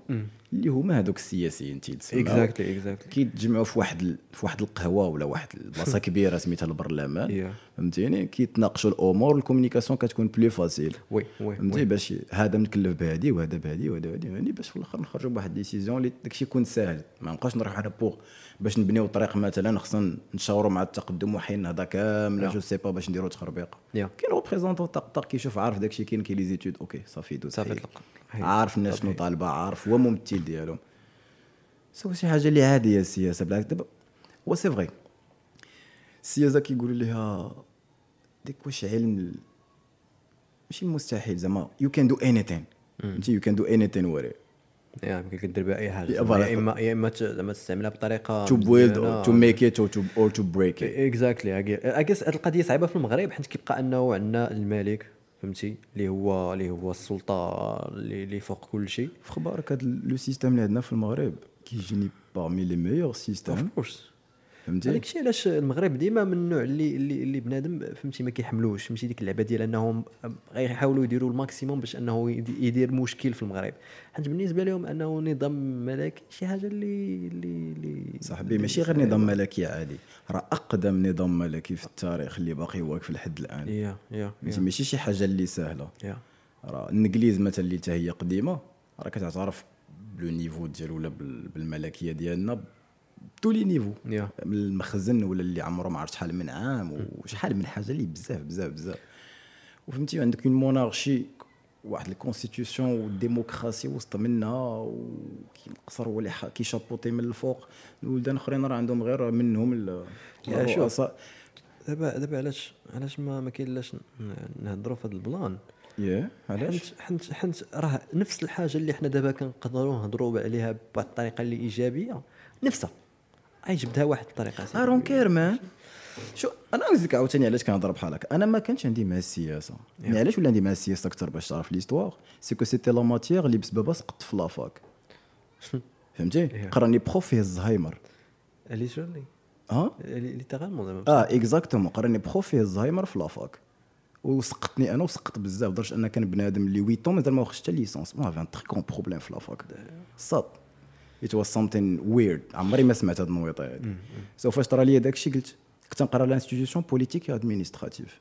Speaker 3: اللي هما هذوك السياسيين تيتسموا
Speaker 2: Exactly, exactly.
Speaker 3: كيتجمعوا في واحد ال... في واحد القهوه ولا واحد
Speaker 2: *laughs*
Speaker 3: البلاصه كبيره سميتها البرلمان
Speaker 2: Yeah.
Speaker 3: فهمتيني كيتناقشوا الامور الكومينيكاسيون كتكون بلو فاسيل
Speaker 2: وي، وي،
Speaker 3: فهمتي
Speaker 2: وي.
Speaker 3: باش هذا متكلف بهادي وهذا بهادي وهذا بهادي يعني باش في الاخر نخرجوا بواحد ديسيزيون اللي داكشي يكون ساهل ما نبقاش نروح انا بوغ باش نبنيو طريق مثلا خصنا نشاوروا مع التقدم وحين نهضه كامله جو سي با باش نديروا تخربيق
Speaker 2: Yeah.
Speaker 3: كاين ريبريزونتون تاق تاق كيشوف عارف داكشي كاين كاين لي زيتود اوكي صافي دوز
Speaker 2: صافي
Speaker 3: حيد.
Speaker 2: طلق. إيه. حيد.
Speaker 3: إيه. عارف الناس شنو طالبه عارف هو ممثل ديالهم سو شي حاجه اللي عاديه السياسه بالعكس دابا هو سي فغي السياسه كيقولوا ليها ديك واش علم ال- ماشي المستحيل زعما يو كان دو اني ثين فهمتي يو كان دو اني ثين وري
Speaker 2: يعني يمكن كدير بها اي حاجه
Speaker 3: يا
Speaker 2: زعما
Speaker 3: فوالا.
Speaker 2: يا اما يا اما ت- زعما تستعملها بطريقه
Speaker 3: تو بويلد تو ميك ات اور تو بريك
Speaker 2: إيه.
Speaker 3: ات
Speaker 2: اكزاكتلي اكيس هاد القضيه صعيبه في المغرب حيت كيبقى انه عندنا الملك فهمتي اللي هو اللي هو السلطه اللي اللي فوق كل شيء
Speaker 3: في خبارك هذا لو سيستيم اللي عندنا في المغرب كيجيني بارمي لي ميور سيستيم
Speaker 2: كورس هذاك
Speaker 3: فهمتي
Speaker 2: الشيء علاش المغرب ديما من النوع اللي اللي, اللي بنادم فهمتي ما كيحملوش فهمتي ديك اللعبه ديال انهم غيحاولوا يديروا الماكسيموم باش انه يدي- يدير مشكل في المغرب حيت بالنسبه لهم انه نظام ملكي شي حاجه اللي اللي اللي
Speaker 3: صاحبي ماشي غير نظام ملكي عادي راه اقدم نظام ملكي في التاريخ اللي باقي واقف لحد الان
Speaker 2: يا يا
Speaker 3: فهمتي ماشي شي حاجه اللي سهله
Speaker 2: يا
Speaker 3: راه الانجليز مثلا اللي حتى هي قديمه راه كتعترف بلو نيفو ديال ولا بال- بالملكيه ديالنا تو لي نيفو
Speaker 2: يا.
Speaker 3: من المخزن ولا اللي عمره ما عرفت شحال من عام وشحال من حاجه اللي بزاف بزاف بزاف وفهمتي عندك اون مونارشي واحد الكونستيتيوسيون والديموكراسي وسط منها وكينقصر هو اللي ح- كيشابوطي من الفوق الولدان الاخرين راه عندهم غير منهم ال-
Speaker 2: يا شوف.
Speaker 3: الرؤساء
Speaker 2: دابا دابا علاش علاش ما ما كاين لاش ن- نهضروا في هذا البلان
Speaker 3: ياه علاش
Speaker 2: حنت حنت حنت راه نفس الحاجه اللي حنا دابا كنقدروا نهضروا عليها بواحد الطريقه اللي ايجابيه نفسها اي جبدها واحد الطريقه
Speaker 3: اي دونت كير مان شو انا قلت لك عاوتاني علاش كنهضر بحال هكا انا ما كانش عندي مع السياسه يعني علاش ولا عندي مع السياسه اكثر باش تعرف ليستوار سي كو سيتي لا ماتيير اللي بسببها سقطت في لافاك فهمتي قراني بروف فيه الزهايمر أه؟
Speaker 2: ليترالي
Speaker 3: ها
Speaker 2: ليترالمون زعما
Speaker 3: اه اكزاكتومون قراني بروف فيه الزهايمر في لافاك وسقطني انا وسقط بزاف لدرجه انا كان بنادم اللي 8 مازال ما واخدش حتى ليسونس ما فان تري كون بروبليم في لافاك صاد ات واز سامثين ويرد عمري ما سمعت هاد النويطه هادي سو فاش طرا لي داكشي قلت كنت نقرا لانستيتيوسيون بوليتيك ادمينستراتيف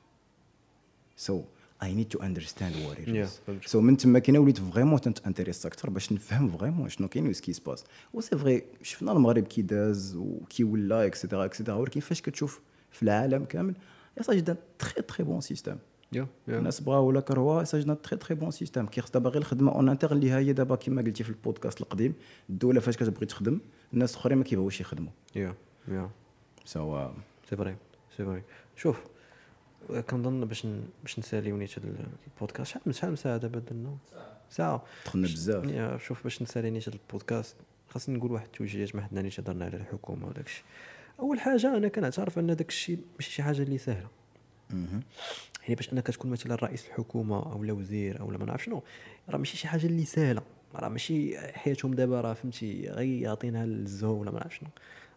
Speaker 3: سو اي نيد تو اندرستاند وات ات
Speaker 2: Yeah,
Speaker 3: از
Speaker 2: فهمت.
Speaker 3: سو من تما كاين وليت فريمون تنتانتيريس اكثر باش نفهم فريمون شنو كاين وسكي سباس و سي فري شفنا المغرب كي داز وكي ولا اكسيتيرا اكسيتيرا ولكن فاش كتشوف في العالم كامل يا صاحبي دان تخي تخي بون سيستيم
Speaker 2: يا يا
Speaker 3: الناس بغاو ولا كرهوها ساجنا تري تري بون سيستيم كيخص دابا غير الخدمه اون انتر اللي ها هي دابا كما قلتي في البودكاست القديم الدوله فاش كتبغي تخدم الناس الاخرين ما كيبغيوش يخدموا
Speaker 2: يا يا
Speaker 3: سوا
Speaker 2: سي فري سي فري شوف آه، كنظن باش ن- باش نساليو نيت هاد البودكاست شحال من شحال من ساعه دابا درنا ساعه
Speaker 3: دخلنا
Speaker 2: باش-
Speaker 3: بزاف.
Speaker 2: يا، شوف باش نسالي نيت هاد البودكاست خاصني نقول واحد التوجيهات ما حدنا نيت هضرنا على الحكومه وداك الشيء اول حاجه انا كنعترف ان داك الشيء ماشي شي حاجه اللي سهله يعني باش انك تكون مثلا رئيس الحكومه او لا وزير او لا ما نعرف شنو راه ماشي شي حاجه اللي سهله راه ماشي حياتهم دابا راه فهمتي غي يعطينا الزهو ولا ما نعرف شنو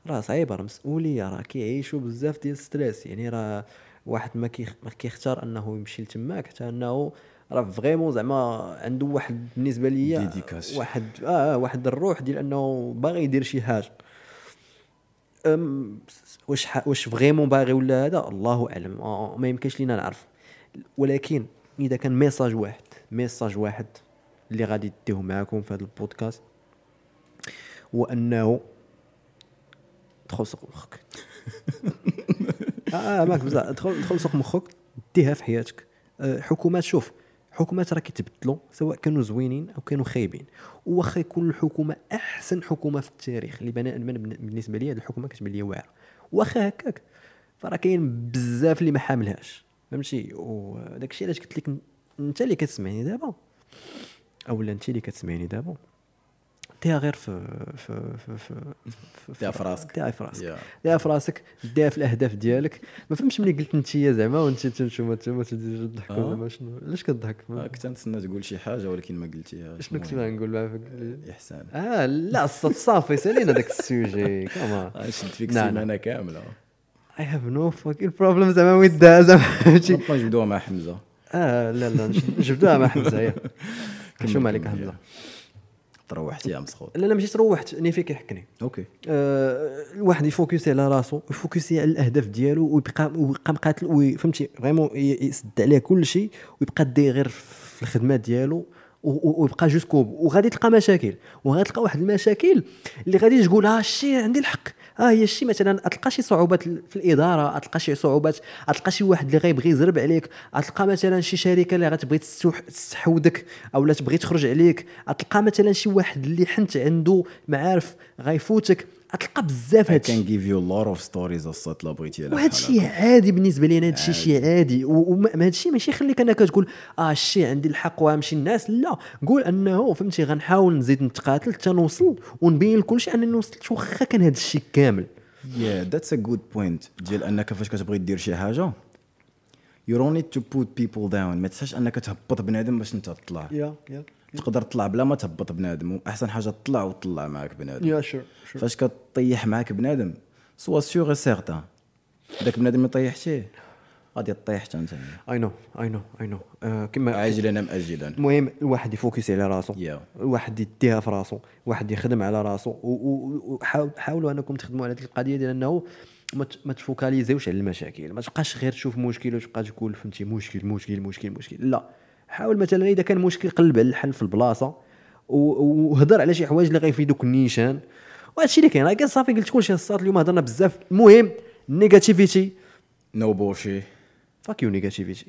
Speaker 2: راه صعيبه راه مسؤوليه راه كيعيشوا بزاف ديال ستريس يعني راه واحد ما كيخ- ما كيختار انه يمشي لتماك حتى انه راه فريمون زعما عنده واحد بالنسبه ليا
Speaker 3: Dedication.
Speaker 2: واحد اه واحد الروح ديال انه باغي يدير شي حاجه أم، واش ح- واش فريمون باغي ولا هذا الله اعلم آه، ما يمكنش لينا نعرف ولكن اذا كان ميساج واحد ميساج واحد اللي غادي ديوه معكم في هذا البودكاست هو انه دخل سوق مخك اه *laughs* آه، معك بزاف دخل دخل سوق مخك ديها في حياتك آه، حكومات شوف حكومات راه كيتبدلوا سواء كانوا زوينين او كانوا خايبين وخا يكون الحكومه احسن حكومه في التاريخ اللي بنا من- من- بالنسبه لي هذه الحكومه كتبان لي واعره واخا هكاك فراه كاين بزاف اللي ما حاملهاش فهمتي وداك الشيء علاش قلت لك ن- انت اللي كتسمعني دابا اولا انت اللي كتسمعني دابا ديها غير في في في في في-
Speaker 3: ديها في راسك.
Speaker 2: ديها في راسك
Speaker 3: Yeah.
Speaker 2: ديها في راسك ديها في الاهداف ديالك ما فهمتش ملي قلت انت زعما وانت تنشوف تما تضحك
Speaker 3: آه.
Speaker 2: ولا ما شنو علاش كضحك ما-
Speaker 3: آه، كنت نتسنى تقول شي حاجه ولكن ما قلتيها
Speaker 2: شنو كنت غنقول معاك قول لي.
Speaker 3: احسان
Speaker 2: اه لا الصوت صافي سالينا داك السوجي كمان
Speaker 3: غنشد فيك
Speaker 2: لا، لا.
Speaker 3: سيمانه كامله
Speaker 2: اي هاف نو فاكين بروبليم زعما ويز ذا زعما فهمتي
Speaker 3: نبقى نجبدوها مع حمزه
Speaker 2: اه لا لا نش- جبدوها مع حمزه
Speaker 3: *laughs*
Speaker 2: يا
Speaker 3: كمل،
Speaker 2: شو مالك
Speaker 3: كمل،
Speaker 2: حمزه
Speaker 3: تروحتي يا مسخوط
Speaker 2: لا لا مشيت روحت نيفي كيحكني
Speaker 3: اوكي
Speaker 2: آه، الواحد يفوكسي على راسو يفوكسي على الاهداف ديالو ويبقى ويبقى مقاتل وي- فهمتي فريمون ي- يسد عليه كل شيء ويبقى داير غير في الخدمه ديالو و- و- ويبقى جوست كوب وغادي تلقى مشاكل وغادي تلقى واحد المشاكل اللي غادي تقول اه شي عندي الحق اه هي شي مثلا تلقى شي صعوبات في الاداره تلقى شي صعوبات تلقى شي واحد اللي غيبغي يزرب عليك تلقى مثلا شي شركه اللي غتبغي تستوح- تستحوذك او لا تبغي تخرج عليك تلقى مثلا شي واحد اللي حنت عنده معارف غيفوتك غتلقى بزاف
Speaker 3: I
Speaker 2: هادشي
Speaker 3: can give you a lot of stories الصوت لا بغيتي على
Speaker 2: وهذا
Speaker 3: بحال
Speaker 2: الشيء عادي بالنسبه لينا هذا الشيء شيء عادي وهذا الشيء ماشي يخليك انك تقول اه الشيء عندي الحق وغنمشي الناس لا قول انه فهمتي غنحاول نزيد نتقاتل حتى نوصل ونبين لكل شيء انني وصلت واخا كان هذا الشيء كامل
Speaker 3: Yeah, that's a good point ديال انك فاش كتبغي دير شي حاجه you don't need to put people down ما تنساش انك تهبط بنادم باش انت تطلع
Speaker 2: يا يا
Speaker 3: تقدر تطلع بلا ما تهبط بنادم احسن حاجه تطلع وتطلع معاك بنادم
Speaker 2: يا شور
Speaker 3: فاش كطيح معاك بنادم سوا سيغ سيغتان داك بنادم اللي طيحتيه غادي تطيح حتى انت
Speaker 2: اي نو اي نو اي نو كما
Speaker 3: عاجلا ام اجلا
Speaker 2: آه، المهم الواحد يفوكس على راسو
Speaker 3: Yeah.
Speaker 2: الواحد يديها في راسو الواحد يخدم على راسو وحاولوا انكم تخدموا على هذه القضيه ديال انه ما ت- ما تفوكاليزيوش على المشاكل ما تبقاش غير تشوف مشكل وتبقى تقول فهمتي مشكل مشكل مشكل مشكل لا حاول مثلا اذا كان مشكل قلب على الحل في البلاصه و- وهضر على شي حوايج اللي غيفيدوك النيشان وهادشي اللي كاين راه كان صافي قلت كلشي الصاد اليوم هضرنا بزاف المهم نيجاتيفيتي
Speaker 3: نو بوشي
Speaker 2: فاك يو *laughs* نيجاتيفيتي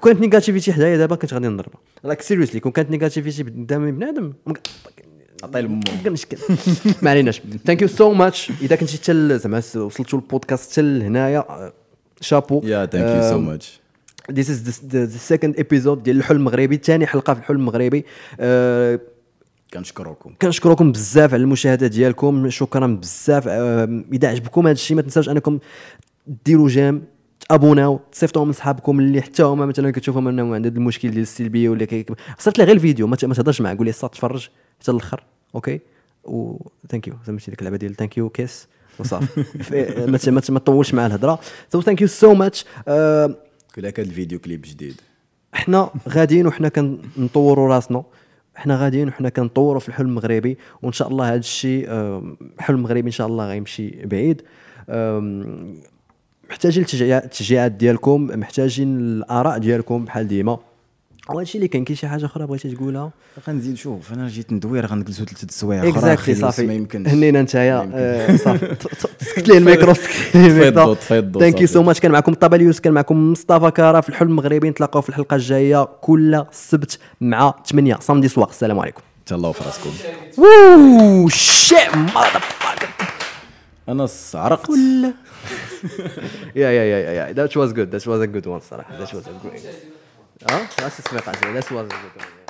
Speaker 2: كون كانت نيجاتيفيتي حدايا دابا كنت غادي نضربها راك سيريوسلي كون كانت نيجاتيفيتي قدامي بنادم
Speaker 3: عطيه لمو
Speaker 2: كنشكل *laughs* ما عليناش ثانك يو سو ماتش اذا كنتي حتى ل- زعما س- وصلتوا البودكاست حتى لهنايا آه، شابو
Speaker 3: يا ثانك يو سو
Speaker 2: آم،
Speaker 3: ماتش
Speaker 2: This is the, the, the second episode ديال الحلم المغربي ثاني حلقه في الحلم المغربي آه،
Speaker 3: كنشكركم
Speaker 2: كنشكركم بزاف على المشاهده ديالكم شكرا بزاف آم، اذا عجبكم هذا الشيء ما تنساوش انكم ديروا جيم تابوناو تصيفطوهم لصحابكم اللي حتى هما مثلا كتشوفهم انهم عندهم هاد المشكل ديال السلبيه ولا كي صيفط لي غير الفيديو ما ت- ما تهضرش معاه قول لي صافي تفرج حتى الاخر اوكي و ثانك يو سميتي ديك اللعبه ديال ثانك يو كيس وصافي في- ما ت- ما ت- ما تطولش معاه الهضره سو ثانك يو سو ماتش آه،
Speaker 3: كل هكا الفيديو كليب جديد
Speaker 2: احنا غاديين وحنا كنطوروا راسنا احنا غاديين وحنا كنطوروا في الحلم المغربي وان شاء الله هذا الشيء آم، الحلم المغربي ان شاء الله غيمشي بعيد آم، محتاجين التشجيع- التشجيعات ديالكم محتاجين الاراء ديالكم بحال ديما وهذا الشيء اللي كان كاين شي حاجه اخرى بغيتي تقولها
Speaker 3: غنزيد شوف انا جيت ندوير غنجلسوا ثلاث السوايع اخرى
Speaker 2: اكزاكتلي
Speaker 3: خلاص ما
Speaker 2: صافي
Speaker 3: يمكنش
Speaker 2: هنينا
Speaker 3: ما
Speaker 2: نتايا
Speaker 3: يمكنش. *laughs*
Speaker 2: آه، صافي ت- ت- تسكت لي الميكرو سكت لي
Speaker 3: تفضل،
Speaker 2: الميكرو
Speaker 3: تفضل،
Speaker 2: ثانك يو سو
Speaker 3: صافي.
Speaker 2: ماتش كان معكم طابليوس كان معكم مصطفى كارا في الحلم المغربي نتلاقاو في الحلقه الجايه كل سبت مع 8 سامدي سواق السلام
Speaker 3: *laughs*
Speaker 2: عليكم
Speaker 3: تهلاو في راسكم
Speaker 2: وو شيت ماذر
Speaker 3: انا عرقت
Speaker 2: يا يا يا يا ذات واز جود ذات واز ا جود وان صراحه ذات واز ا جريت اه راس السبيق عشان ذات واز ا جود